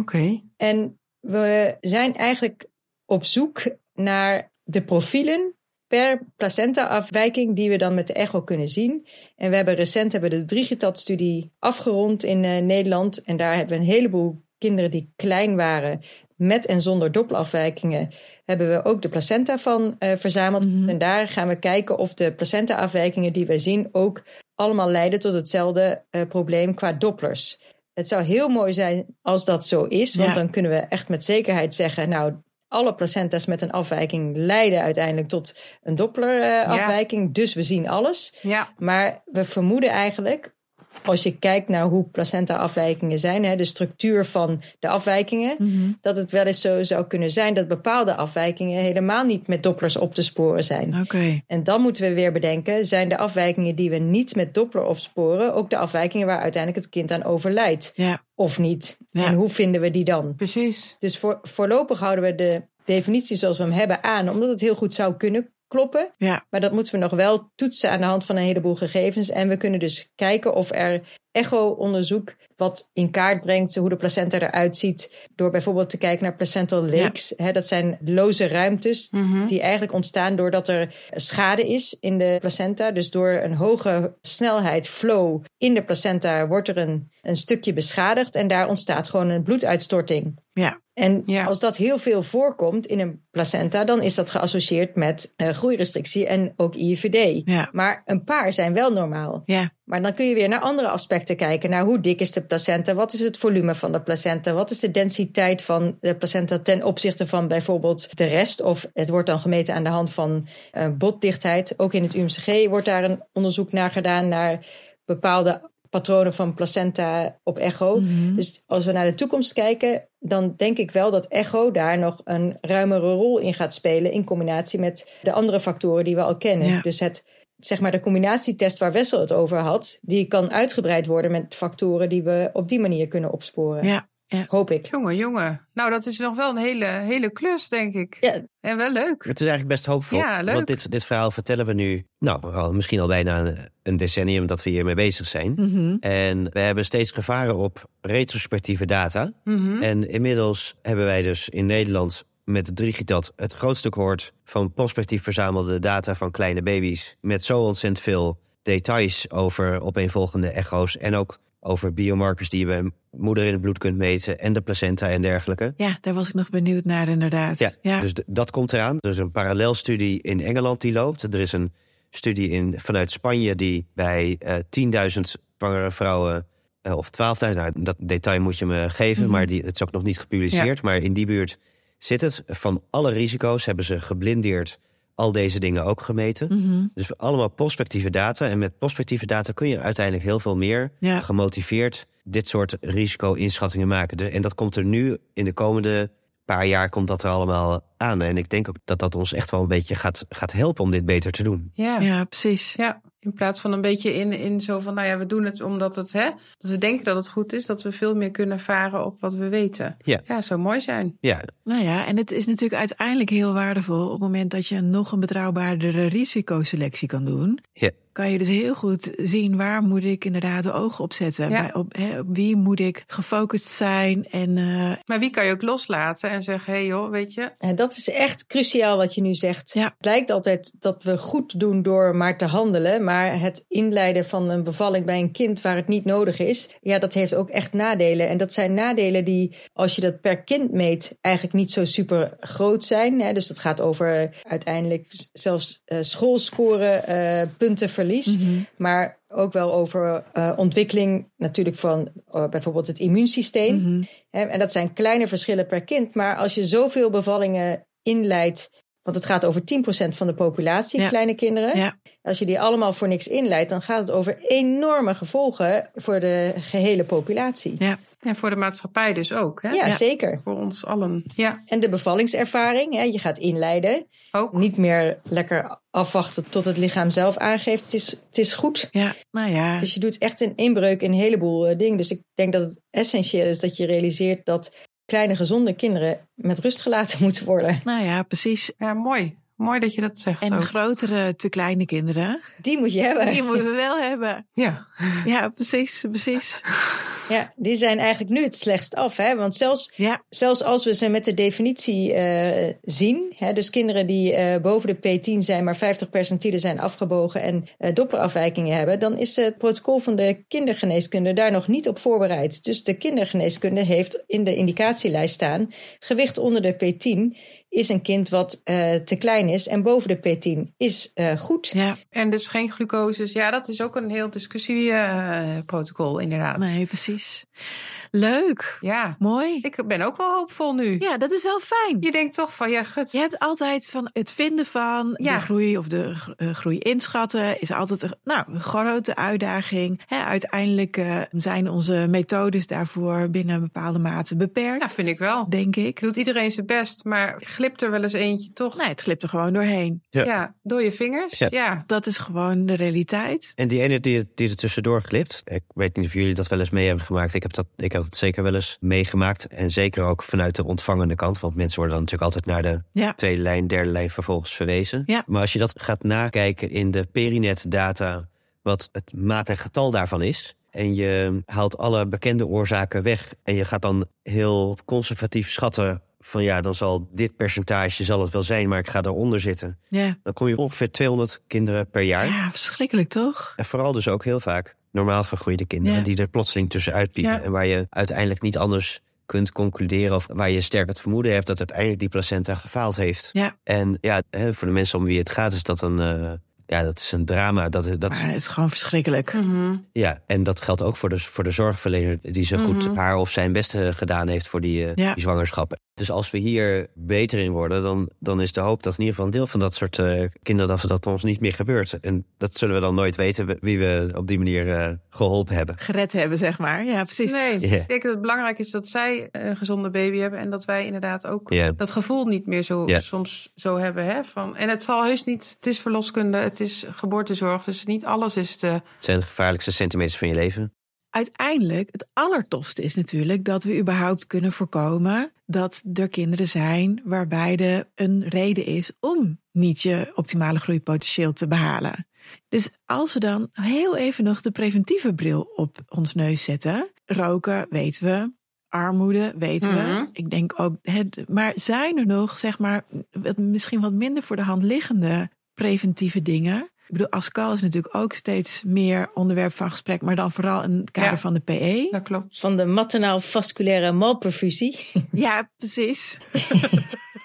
S1: Oké.
S3: En we zijn eigenlijk op zoek naar de profielen per placenta-afwijking die we dan met de echo kunnen zien. En we hebben recent hebben we de Drigitat-studie afgerond in eh, Nederland. En daar hebben we een heleboel kinderen die klein waren... met en zonder doppelafwijkingen... hebben we ook de placenta van eh, verzameld. En daar gaan we kijken of de placenta-afwijkingen die wij zien... ook allemaal leiden tot hetzelfde eh, probleem qua dopplers. Het zou heel mooi zijn als dat zo is, want
S2: Ja.
S3: dan kunnen we echt met zekerheid zeggen: Nou, alle placenta's met een afwijking leiden uiteindelijk tot een Doppler-afwijking, dus we zien alles.
S1: Ja,
S3: Maar we vermoeden eigenlijk, als je kijkt naar hoe placenta-afwijkingen zijn, hè, de structuur van de afwijkingen,
S2: Mhm.
S3: dat het wel eens zo zou kunnen zijn dat bepaalde afwijkingen helemaal niet met Dopplers op te sporen zijn.
S2: Oké,
S3: En dan moeten we weer bedenken: zijn de afwijkingen die we niet met Doppler opsporen ook de afwijkingen waar uiteindelijk het kind aan overlijdt?
S2: ja.
S3: Of niet?
S2: Ja.
S3: En hoe vinden we die dan?
S1: precies.
S3: Dus voor, voorlopig houden we de definitie zoals we hem hebben aan, omdat het heel goed zou kunnen kloppen.
S2: Ja.
S3: Maar dat moeten we nog wel toetsen aan de hand van een heleboel gegevens. En we kunnen dus kijken of er echo-onderzoek wat in kaart brengt hoe de placenta eruit ziet. Door bijvoorbeeld te kijken naar placental lakes. Hè, dat zijn loze ruimtes
S1: Mhm.
S3: die eigenlijk ontstaan doordat er schade is in de placenta. Dus door een hoge snelheid flow in de placenta wordt er een, een stukje beschadigd. En daar ontstaat gewoon een bloeduitstorting.
S2: Ja.
S3: En
S1: Ja.
S3: als dat heel veel voorkomt in een placenta, dan is dat geassocieerd met eh, groeirestrictie en ook IVD.
S2: Ja.
S3: Maar een paar zijn wel normaal.
S2: Ja,
S3: Maar dan kun je weer naar andere aspecten kijken. Naar hoe dik is de placenta? Wat is het volume van de placenta? Wat is de densiteit van de placenta ten opzichte van bijvoorbeeld de rest? Of het wordt dan gemeten aan de hand van eh, botdichtheid. Ook in het UMCG wordt daar een onderzoek naar gedaan naar bepaalde patronen van placenta op echo.
S2: Mhm.
S3: Dus als we naar de toekomst kijken, dan denk ik wel dat echo daar nog een ruimere rol in gaat spelen in combinatie met de andere factoren die we al kennen.
S2: Ja.
S3: Dus het zeg maar de combinatietest waar Wessel het over had, die kan uitgebreid worden met factoren die we op die manier kunnen opsporen.
S2: Ja.
S3: Hoop ik.
S1: Jongen, jongen. Nou, dat is nog wel een hele, hele klus, denk ik.
S3: Ja.
S1: En wel leuk.
S4: Het is eigenlijk best hoopvol.
S1: Ja, leuk.
S4: Want dit, dit verhaal vertellen we nu, nou, al- misschien al bijna een, een decennium dat we hiermee bezig zijn.
S2: Mhm.
S4: En we hebben steeds gevaren op retrospectieve data.
S1: Mhm.
S4: En inmiddels hebben wij dus in Nederland met Digitad het grootste koord van prospectief verzamelde data van kleine baby's. Met zo ontzettend veel details over opeenvolgende echo's en ook over biomarkers die je bij moeder in het bloed kunt meten en de placenta en dergelijke.
S2: Ja, daar was ik nog benieuwd naar inderdaad.
S4: Ja, Dus d- dat komt eraan. Er is een parallelstudie in Engeland die loopt. Er is een studie in, vanuit Spanje die bij eh 10.000 zwangere vrouwen... eh, of 12.000, nou, dat detail moet je me geven...
S2: Mhm.
S4: maar die, het is ook nog niet gepubliceerd. Maar in die buurt zit het. Van alle risico's hebben ze geblindeerd al deze dingen ook gemeten.
S2: Mhm.
S4: Dus allemaal prospectieve data. En met prospectieve data kun je uiteindelijk heel veel meer
S2: Ja.
S4: gemotiveerd dit soort risico-inschattingen maken. Dus- En dat komt er nu in de komende paar jaar komt dat er allemaal aan. En ik denk ook dat dat ons echt wel een beetje gaat, gaat helpen om dit beter te doen.
S1: Ja. ja.
S2: ja, precies.
S1: in plaats van een beetje in, in zo van, nou ja, we doen het omdat het, hè, dat we denken dat het goed is, dat we veel meer kunnen varen op wat we weten.
S4: Ja.
S1: Ja, zou mooi zijn.
S4: Ja,
S2: Nou ja, en het is natuurlijk uiteindelijk heel waardevol op het moment dat je nog een betrouwbaardere risicoselectie kan doen.
S4: Ja.
S2: Kan je dus heel goed zien waar moet ik inderdaad de ogen op zetten.
S1: Ja.
S2: Bij, op, hè, op wie moet ik gefocust zijn en eh,
S1: Maar wie kan je ook loslaten en zeggen, hé hey joh, weet je,
S3: Ja, dat is echt cruciaal wat je nu zegt.
S2: Ja.
S3: Het lijkt altijd dat we goed doen door maar te handelen. Maar het inleiden van een bevalling bij een kind waar het niet nodig is. Ja, dat heeft ook echt nadelen. En dat zijn nadelen die, als je dat per kind meet, eigenlijk niet zo super groot zijn. Hè? Dus dat gaat over eh, uiteindelijk s- zelfs eh, schoolscoren, eh, puntenverlies.
S2: Mhm.
S1: Mhm.
S3: Maar ook wel over eh, ontwikkeling natuurlijk van eh, bijvoorbeeld het immuunsysteem.
S2: Mhm.
S3: Hè, En dat zijn kleine verschillen per kind. Maar als je zoveel bevallingen inleidt. Want het gaat over 10% van de populatie,
S2: Ja.
S3: kleine kinderen.
S2: Ja.
S3: Als je die allemaal voor niks inleidt, dan gaat het over enorme gevolgen voor de gehele populatie.
S2: ja,
S1: en voor de maatschappij dus ook, hè?
S3: Ja, zeker.
S1: Voor ons allen. Ja,
S3: En de bevallingservaring, hè, je gaat inleiden.
S1: ook.
S3: Niet meer lekker afwachten tot het lichaam zelf aangeeft. Het is, het is goed.
S2: ja, nou ja.
S3: Dus je doet echt een inbreuk in een heleboel eh, dingen. Dus ik denk dat het essentieel is dat je realiseert dat kleine gezonde kinderen met rust gelaten moeten worden.
S2: Nou ja, precies.
S1: Ja, mooi. Mooi dat je dat zegt
S2: En
S1: ook.
S2: grotere te kleine kinderen,
S3: Die moet je hebben.
S2: die moeten we wel hebben.
S1: Ja.
S2: Ja, precies, precies.
S3: Ja, die zijn eigenlijk nu het slechtst af. Hè? Want zelfs,
S2: Ja,
S3: zelfs als we ze met de definitie eh, zien, hè, dus kinderen die eh, boven de P10 zijn, maar 50 percentielen zijn afgebogen en eh dopperafwijkingen hebben, dan is het protocol van de kindergeneeskunde daar nog niet op voorbereid. Dus de kindergeneeskunde heeft in de indicatielijst staan: gewicht onder de P10 is een kind wat eh, te klein is en boven de P10 is eh, goed.
S2: ja,
S1: En dus geen glucoses. Ja, dat is ook een heel discussieprotocol, eh, inderdaad.
S2: nee, precies. Leuk,
S1: Ja,
S2: mooi.
S1: ik ben ook wel hoopvol nu.
S2: Ja, dat is wel fijn.
S1: Je denkt toch van, ja, gut.
S2: Je hebt altijd van het vinden van
S1: Ja.
S2: de groei of de gr- eh, groei inschatten is altijd een, nou, een grote uitdaging. Hè, uiteindelijk eh, zijn onze methodes daarvoor binnen een bepaalde mate beperkt,
S1: Ja, Nou, vind ik wel.
S2: denk ik.
S1: Doet iedereen zijn best, maar glipt er wel eens eentje toch?
S2: Nee, het glipt er gewoon doorheen.
S4: Ja.
S1: Ja, door je vingers. Ja.
S4: Ja.
S2: Dat is gewoon de realiteit.
S4: En die ene die, het- die er tussendoor glipt. Ik weet niet of jullie dat wel eens mee hebben gemaakt. Ik heb dat, ik heb dat zeker wel eens meegemaakt. En zeker ook vanuit de ontvangende kant. Want mensen worden dan natuurlijk altijd naar de
S2: Ja.
S4: tweede lijn, derde lijn vervolgens verwezen.
S2: Ja.
S4: Maar als je dat gaat nakijken in de perinet data. Wat het maat en getal daarvan is. En je haalt alle bekende oorzaken weg. En je gaat dan heel conservatief schatten. Van ja, dan zal dit percentage zal het wel zijn. Maar ik ga daaronder zitten.
S2: Ja,
S4: Dan kom je op ongeveer 200 kinderen per jaar.
S2: ja verschrikkelijk toch?
S4: En vooral dus ook heel vaak normaal gegroeide kinderen
S2: Ja.
S4: die er plotseling tussenuit piepen.
S1: Ja.
S4: En waar je uiteindelijk niet anders kunt concluderen of waar je sterk het vermoeden hebt dat uiteindelijk die placenta gefaald heeft.
S2: Ja.
S4: En ja, hè, voor de mensen om wie het gaat is dat een, eh, ja, dat is een drama. Dat, dat,
S2: Maar het is gewoon verschrikkelijk.
S1: Mhm.
S4: ja, en dat geldt ook voor de, voor de zorgverlener die zo goed haar of zijn best eh, gedaan heeft voor die, eh,
S2: Ja.
S4: die zwangerschap. Dus als we hier beter in worden, dan, dan is de hoop dat in ieder geval een deel van dat soort eh, kinderen dat, dat ons niet meer gebeurt. En dat zullen we dan nooit weten wie we op die manier eh, geholpen hebben.
S2: Gered hebben, zeg maar. Ja, precies.
S5: Nee,
S4: Ja.
S5: ik denk dat het belangrijk is dat zij een gezonde baby hebben en dat wij inderdaad ook
S4: Ja.
S5: dat gevoel niet meer zo
S4: Ja.
S5: soms zo hebben. Hè? Van, en het zal heus niet, het is verloskunde, het is geboortezorg, dus niet alles is te.
S4: Het zijn de gevaarlijkste centimeters van je leven.
S2: uiteindelijk, het allertofste is natuurlijk dat we überhaupt kunnen voorkomen dat er kinderen zijn waarbij er een reden is om niet je optimale groeipotentieel te behalen. Dus als we dan heel even nog de preventieve bril op ons neus zetten, roken weten we, armoede weten
S5: Mhm.
S2: we, ik denk ook, hè, d- maar zijn er nog, zeg maar, wat- misschien wat minder voor de hand liggende preventieve dingen? Ik bedoel, ASCAL is natuurlijk ook steeds meer onderwerp van gesprek, maar dan vooral in het kader
S5: Ja.
S2: van de E. PE.
S5: Dat klopt.
S3: Van de maternaal vasculaire malperfusie.
S2: Ja, precies.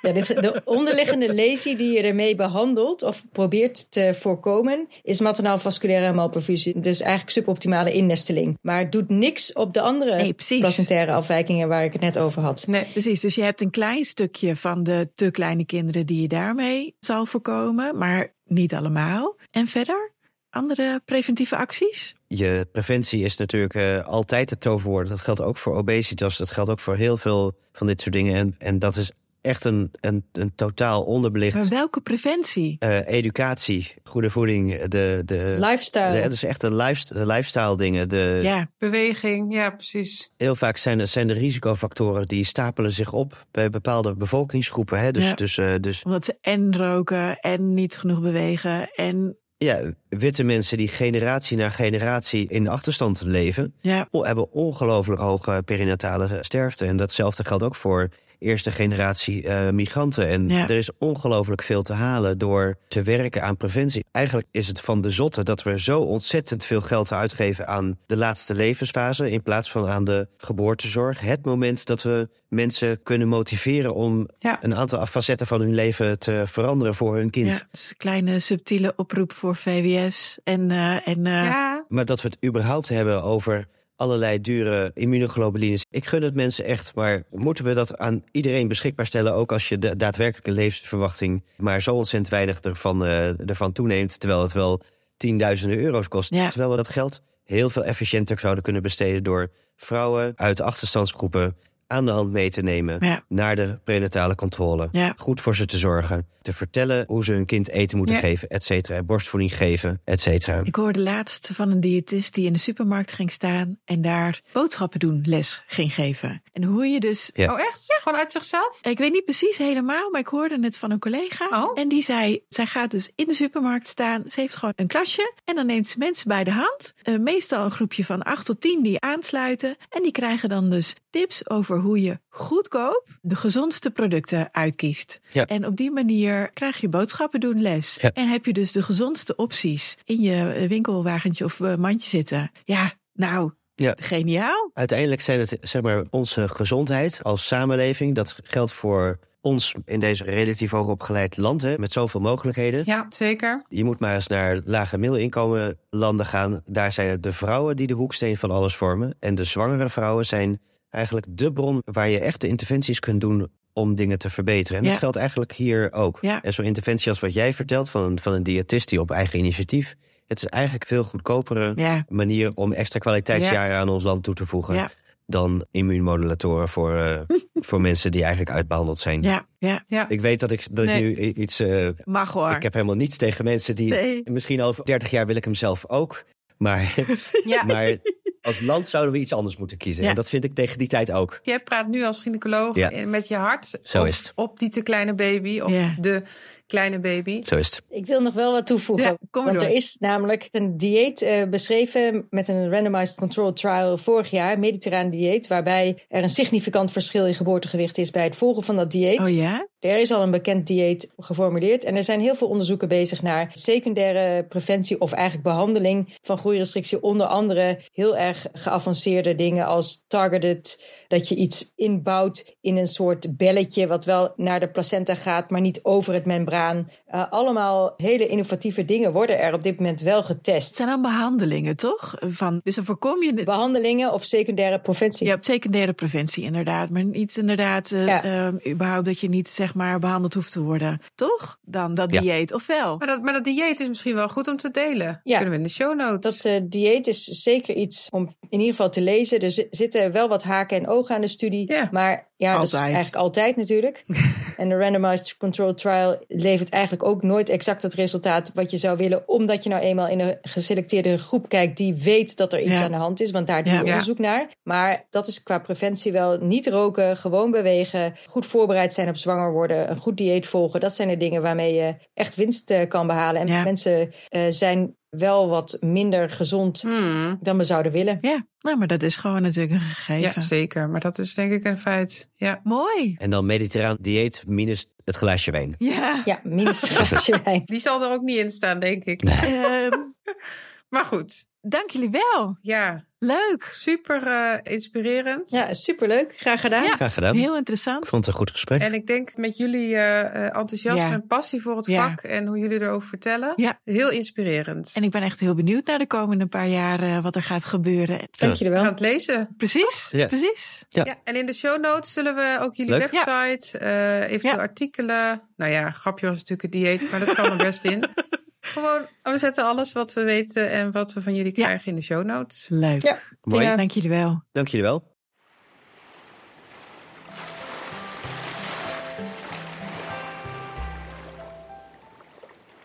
S3: Ja, dit, de onderliggende lesie die je ermee behandelt of probeert te voorkomen, is maternaal vasculaire malperfusie. Dus eigenlijk suboptimale innesteling. Maar het doet niks op de andere
S2: Nee, precies.
S3: placentaire afwijkingen waar ik het net over had.
S5: Nee,
S2: Precies, dus je hebt een klein stukje van de te kleine kinderen die je daarmee zal voorkomen, maar niet allemaal. En verder, andere preventieve acties?
S4: je preventie is natuurlijk eh, altijd het toverwoord. Dat geldt ook voor obesitas. Dat geldt ook voor heel veel van dit soort dingen. En, en dat is echt een, een, een totaal onderbelicht.
S2: Maar welke preventie?
S4: Eh, educatie, goede voeding, de, de,
S3: Lifestyle.
S4: de- dat is echt de, lifest- de lifestyle dingen.
S5: Eh.
S4: De,
S2: Ja,
S5: beweging, ja, precies.
S4: Heel vaak zijn, zijn de risicofactoren die stapelen zich op bij bepaalde bevolkingsgroepen. Hè? Dus,
S2: Ja.
S4: Dus, eh, dus
S2: omdat ze en roken en niet genoeg bewegen en
S4: ja, witte mensen die generatie na generatie in achterstand leven,
S2: ja,
S4: o- hebben ongelooflijk hoge perinatale sterfte. En datzelfde geldt ook voor eerste generatie eh, migranten. En
S2: Ja.
S4: er is ongelooflijk veel te halen door te werken aan preventie. Eigenlijk is het van de zotte dat we zo ontzettend veel geld uitgeven aan de laatste levensfase in plaats van aan de geboortezorg. Het moment dat we mensen kunnen motiveren om
S5: Ja.
S4: een aantal facetten van hun leven te veranderen voor hun kind.
S2: Ja, dus een kleine subtiele oproep voor VWS en, eh, en eh,
S5: Ja,
S4: Maar dat we het überhaupt hebben over allerlei dure immunoglobulines. Ik gun het mensen echt, maar moeten we dat aan iedereen beschikbaar stellen... ook als je de daadwerkelijke levensverwachting maar zo ontzettend weinig ervan, eh, ervan toeneemt... terwijl het wel tienduizenden euro's kost.
S2: Ja.
S4: Terwijl we dat geld heel veel efficiënter zouden kunnen besteden... door vrouwen uit achterstandsgroepen aan de hand mee te nemen...
S2: Ja.
S4: naar de prenatale controle.
S2: Ja.
S4: Goed voor ze te zorgen. Te vertellen hoe ze hun kind eten moeten
S5: Ja.
S4: geven, et cetera. Borstvoeding geven, et cetera.
S2: ik hoorde laatst van een diëtist die in de supermarkt ging staan en daar boodschappen doen les ging geven. En hoe je dus,
S4: Ja.
S5: oh echt? Gewoon uit zichzelf?
S2: ik weet niet precies helemaal, maar ik hoorde het van een collega.
S5: Oh.
S2: En die zei, zij gaat dus in de supermarkt staan, ze heeft gewoon een klasje en dan neemt ze mensen bij de hand. eh, meestal een groepje van acht tot tien die aansluiten en die krijgen dan dus tips over hoe je goedkoop de gezondste producten uitkiest.
S4: Ja.
S2: En op die manier krijg je boodschappen doen les.
S4: Ja.
S2: En heb je dus de gezondste opties in je eh, winkelwagentje of eh, mandje zitten. Ja, nou,
S4: Ja.
S2: geniaal.
S4: Uiteindelijk zijn het zeg maar, onze gezondheid als samenleving. Dat geldt voor ons in deze relatief hoogopgeleid land hè, met zoveel mogelijkheden.
S5: Ja, zeker.
S4: Je moet maar eens naar lage middelinkomen landen gaan. Daar zijn het de vrouwen die de hoeksteen van alles vormen. En de zwangere vrouwen zijn eigenlijk de bron waar je echt de interventies kunt doen om dingen te verbeteren. En
S2: Ja.
S4: dat geldt eigenlijk hier ook.
S2: Ja.
S4: En zo'n interventie als wat jij vertelt van een, van een diëtist die op eigen initiatief. Het is eigenlijk veel goedkopere
S2: Ja,
S4: manier om extra kwaliteitsjaren aan ons land toe te voegen.
S2: Ja.
S4: Dan immuunmodulatoren voor, eh, voor mensen die eigenlijk uitbehandeld zijn.
S2: ja, ja.
S4: Ik weet dat ik, dat ik
S5: Nee.
S4: nu i- iets. eh,
S2: Mag hoor.
S4: ik heb helemaal niets tegen mensen die.
S2: Nee.
S4: Misschien over 30 jaar wil ik hem zelf ook. Maar,
S5: Ja.
S4: maar als land zouden we iets anders moeten kiezen.
S2: Ja.
S4: En dat vind ik tegen die tijd ook.
S5: Jij praat nu als gynaecoloog
S4: Ja.
S5: en met je hart
S4: Zo
S5: op,
S4: is het.
S5: op die te kleine baby of
S2: Ja.
S5: de kleine baby.
S4: Zo is het.
S3: Ik wil nog wel wat toevoegen.
S2: Ja, kom maar
S3: want
S2: door.
S3: er is namelijk een dieet eh, beschreven met een randomized control trial vorig jaar, een mediterraan dieet, waarbij er een significant verschil in geboortegewicht is bij het volgen van dat dieet.
S2: Oh ja?
S3: Er is al een bekend dieet geformuleerd en er zijn heel veel onderzoeken bezig naar secundaire preventie of eigenlijk behandeling van groeirestrictie. Onder andere heel erg geavanceerde dingen als targeted, dat je iets inbouwt in een soort belletje wat wel naar de placenta gaat, maar niet over het membraan eraan. Eh, allemaal hele innovatieve dingen worden er op dit moment wel getest.
S2: Het zijn dan behandelingen, toch? Van, dus dan voorkom je het.
S3: Behandelingen of secundaire preventie.
S2: Je hebt secundaire preventie inderdaad, maar niet inderdaad eh,
S3: Ja.
S2: eh, überhaupt dat je niet zeg maar behandeld hoeft te worden, toch? Dan dat
S4: Ja.
S2: dieet, of wel?
S1: Maar dat, maar dat dieet is misschien wel goed om te delen.
S3: Ja.
S1: Kunnen we in de show notes.
S3: Dat eh, dieet is zeker iets om in ieder geval te lezen. Er zi- zitten wel wat haken en ogen aan de studie.
S1: Ja.
S3: Maar ja, dat is
S2: Altijd.
S3: eigenlijk altijd natuurlijk. en de randomized control trial levert eigenlijk ook nooit exact het resultaat wat je zou willen. Omdat je nou eenmaal in een geselecteerde groep kijkt die weet dat er iets
S2: Ja.
S3: aan de hand is. Want daar doe
S2: Ja.
S3: je onderzoek naar. Maar dat is qua preventie wel niet roken, gewoon bewegen, goed voorbereid zijn op zwanger worden, een goed dieet volgen. Dat zijn de dingen waarmee je echt winst eh, kan behalen. En
S2: Ja.
S3: mensen eh, zijn wel wat minder gezond
S1: Hmm.
S3: dan we zouden willen.
S2: Ja, nou, maar dat is gewoon natuurlijk een
S1: Ja,
S2: gegeven.
S1: zeker. Maar dat is denk ik een feit. Ja.
S2: Mooi.
S4: En dan mediterraan dieet minus het glaasje wijn.
S2: Ja.
S3: Ja, minstens een glaasje wijn.
S1: Die zal er ook niet in staan, denk ik.
S2: Ehm,
S1: Maar goed,
S2: dank jullie wel.
S1: ja.
S2: Leuk.
S1: Super eh, inspirerend.
S3: Ja, superleuk. Graag gedaan.
S2: Ja.
S4: Graag gedaan.
S2: Heel Eh,
S4: Ik
S2: interessant.
S4: vond het een goed gesprek.
S1: En ik denk met jullie eh, eh, enthousiasme
S2: Ja.
S1: en passie voor het
S2: Ja.
S1: vak en hoe jullie erover vertellen.
S2: Ja.
S1: Heel inspirerend.
S2: En ik ben echt heel benieuwd naar de komende paar jaar eh, wat er gaat gebeuren.
S3: Dank jullie
S1: We
S3: wel.
S1: gaan het lezen.
S2: Precies,
S4: Ja.
S2: precies.
S4: Ja.
S1: Ja, en in de show notes zullen we ook jullie
S4: Leuk.
S1: website, eh eventueel
S2: Ja.
S1: artikelen. Nou ja, grapje was natuurlijk het dieet, maar dat kan er best in. Gewoon, we zetten alles wat we weten en wat we van jullie
S2: Ja.
S1: krijgen in de show notes.
S2: Leuk.
S3: Ja,
S4: Mooi.
S3: prima.
S2: Dank jullie wel.
S4: Dank jullie wel.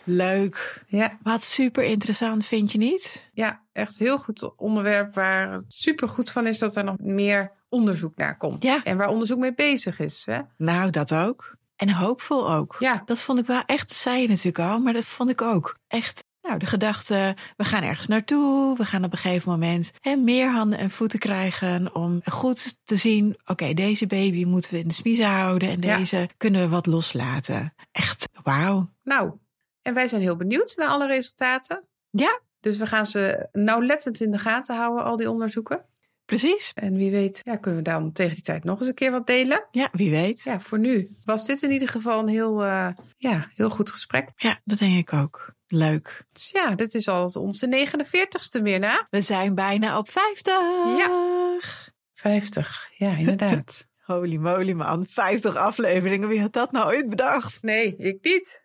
S2: Leuk.
S1: Ja,
S2: Wat super interessant, vind je niet?
S1: ja, echt heel goed onderwerp waar het super goed van is dat er nog meer onderzoek naar komt.
S2: Ja.
S1: En waar onderzoek mee bezig is. Hè?
S2: Nou, dat ook. En hoopvol ook.
S1: Ja.
S2: Dat vond ik wel echt, dat zei je natuurlijk al, maar dat vond ik ook echt. Nou, de gedachte, we gaan ergens naartoe, we gaan op een gegeven moment hè, meer handen en voeten krijgen om goed te zien, oké, deze baby moeten we in de smiezen houden en
S1: Ja.
S2: deze kunnen we wat loslaten. Echt, wauw.
S1: Nou, en wij zijn heel benieuwd naar alle resultaten.
S2: Ja.
S1: Dus we gaan ze nauwlettend in de gaten houden, al die onderzoeken.
S2: Precies.
S1: En wie weet, ja, kunnen we dan tegen die tijd nog eens een keer wat delen.
S2: Ja, wie weet.
S1: Ja, voor nu was dit in ieder geval een heel, eh, ja, heel goed gesprek.
S2: Ja, dat denk ik ook. Leuk.
S1: Dus ja, dit is al onze 49ste meer na.
S2: We zijn bijna op 50. Ja.
S1: 50, ja, inderdaad.
S2: Holy moly man, 50 afleveringen. Wie had dat nou ooit bedacht?
S1: nee, ik niet.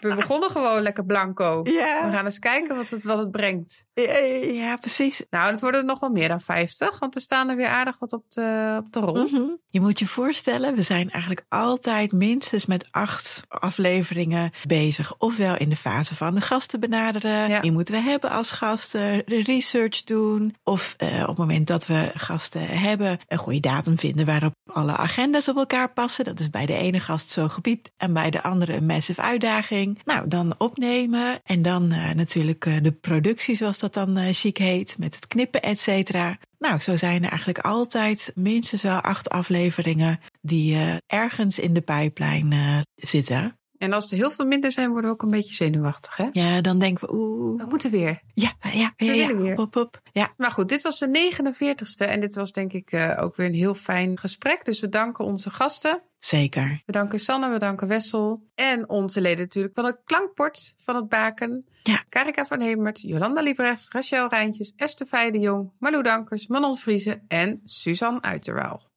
S1: we begonnen gewoon lekker blanco. We
S2: Ja,
S1: gaan eens kijken wat het, wat het brengt.
S2: ja, ja, precies.
S1: Nou, dat worden er nog wel meer dan 50, want er staan er weer aardig wat op de, op de rol.
S2: Mhm. Je moet je voorstellen, we zijn eigenlijk altijd minstens met acht afleveringen bezig. Ofwel in de fase van de gasten benaderen.
S1: Ja.
S2: Wie moeten we hebben als gasten? De research doen. Of eh, op het moment dat we gasten hebben, een goede datum vinden waarop alle agendas op elkaar passen. Dat is bij de ene gast zo gepiept en bij de andere een massive uitdaging. Nou, dan opnemen en dan eh, natuurlijk eh, de productie zoals dat dan eh, chic heet. Met het knippen, et cetera. Nou, zo zijn er eigenlijk altijd minstens wel acht afleveringen die eh, ergens in de pijplijn eh, zitten.
S1: En als er heel veel minder zijn, worden we ook een beetje zenuwachtig, hè?
S2: Ja, dan denken we, oeh,
S1: We moeten weer.
S2: Oh, ja, ja, ja, ja, ja,
S1: willen weer.
S2: hop, hop, hop. Ja,
S1: Maar goed, dit was de 49ste en dit was denk ik eh, ook weer een heel fijn gesprek. Dus we danken onze gasten.
S2: zeker.
S1: We danken Sanne, we danken Wessel en onze leden natuurlijk van het Klankbord van het Baken.
S2: Ja.
S1: Karika van Hemert, Jolanda Liebrechts, Rachel Rijntjes, Esther Feij de Jong, Malou Dankers, Manon Vriezen en Suzanne Uiterwaal.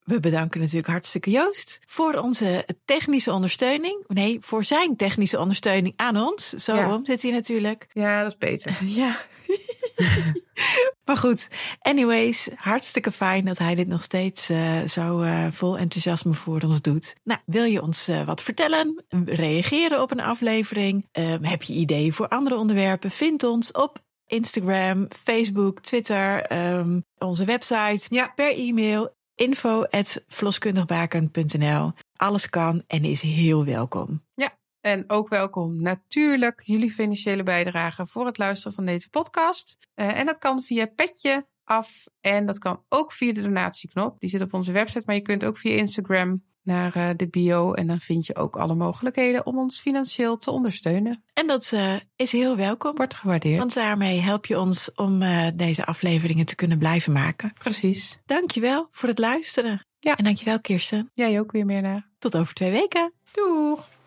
S2: We bedanken natuurlijk hartstikke Joost voor onze technische ondersteuning. Nee, voor zijn technische ondersteuning aan ons. Zo
S1: Ja.
S2: om zit hij natuurlijk.
S1: Ja, dat is beter.
S2: Ja. maar goed, anyways, hartstikke fijn dat hij dit nog steeds eh, zo eh, vol enthousiasme voor ons doet. Nou, wil je ons eh, wat vertellen? Reageren op een aflevering? Eh, heb je ideeën voor andere onderwerpen? Vind ons op Instagram, Facebook, Twitter, ehm, onze website,
S1: Ja.
S2: per e-mail info@vloskundigbaken.nl. Alles kan en is heel welkom.
S1: En ook welkom natuurlijk jullie financiële bijdrage voor het luisteren van deze podcast. Eh, en dat kan via Petje af en dat kan ook via de donatieknop. Die zit op onze website, maar je kunt ook via Instagram naar eh, de bio. En dan vind je ook alle mogelijkheden om ons financieel te ondersteunen.
S2: En dat eh, is heel welkom.
S1: Wordt gewaardeerd.
S2: Want daarmee help je ons om eh, deze afleveringen te kunnen blijven maken.
S1: Precies.
S2: Dankjewel voor het luisteren.
S1: Ja.
S2: En dankjewel Kirsten.
S1: Jij ook weer meer naar.
S2: Tot over twee weken.
S1: Doeg!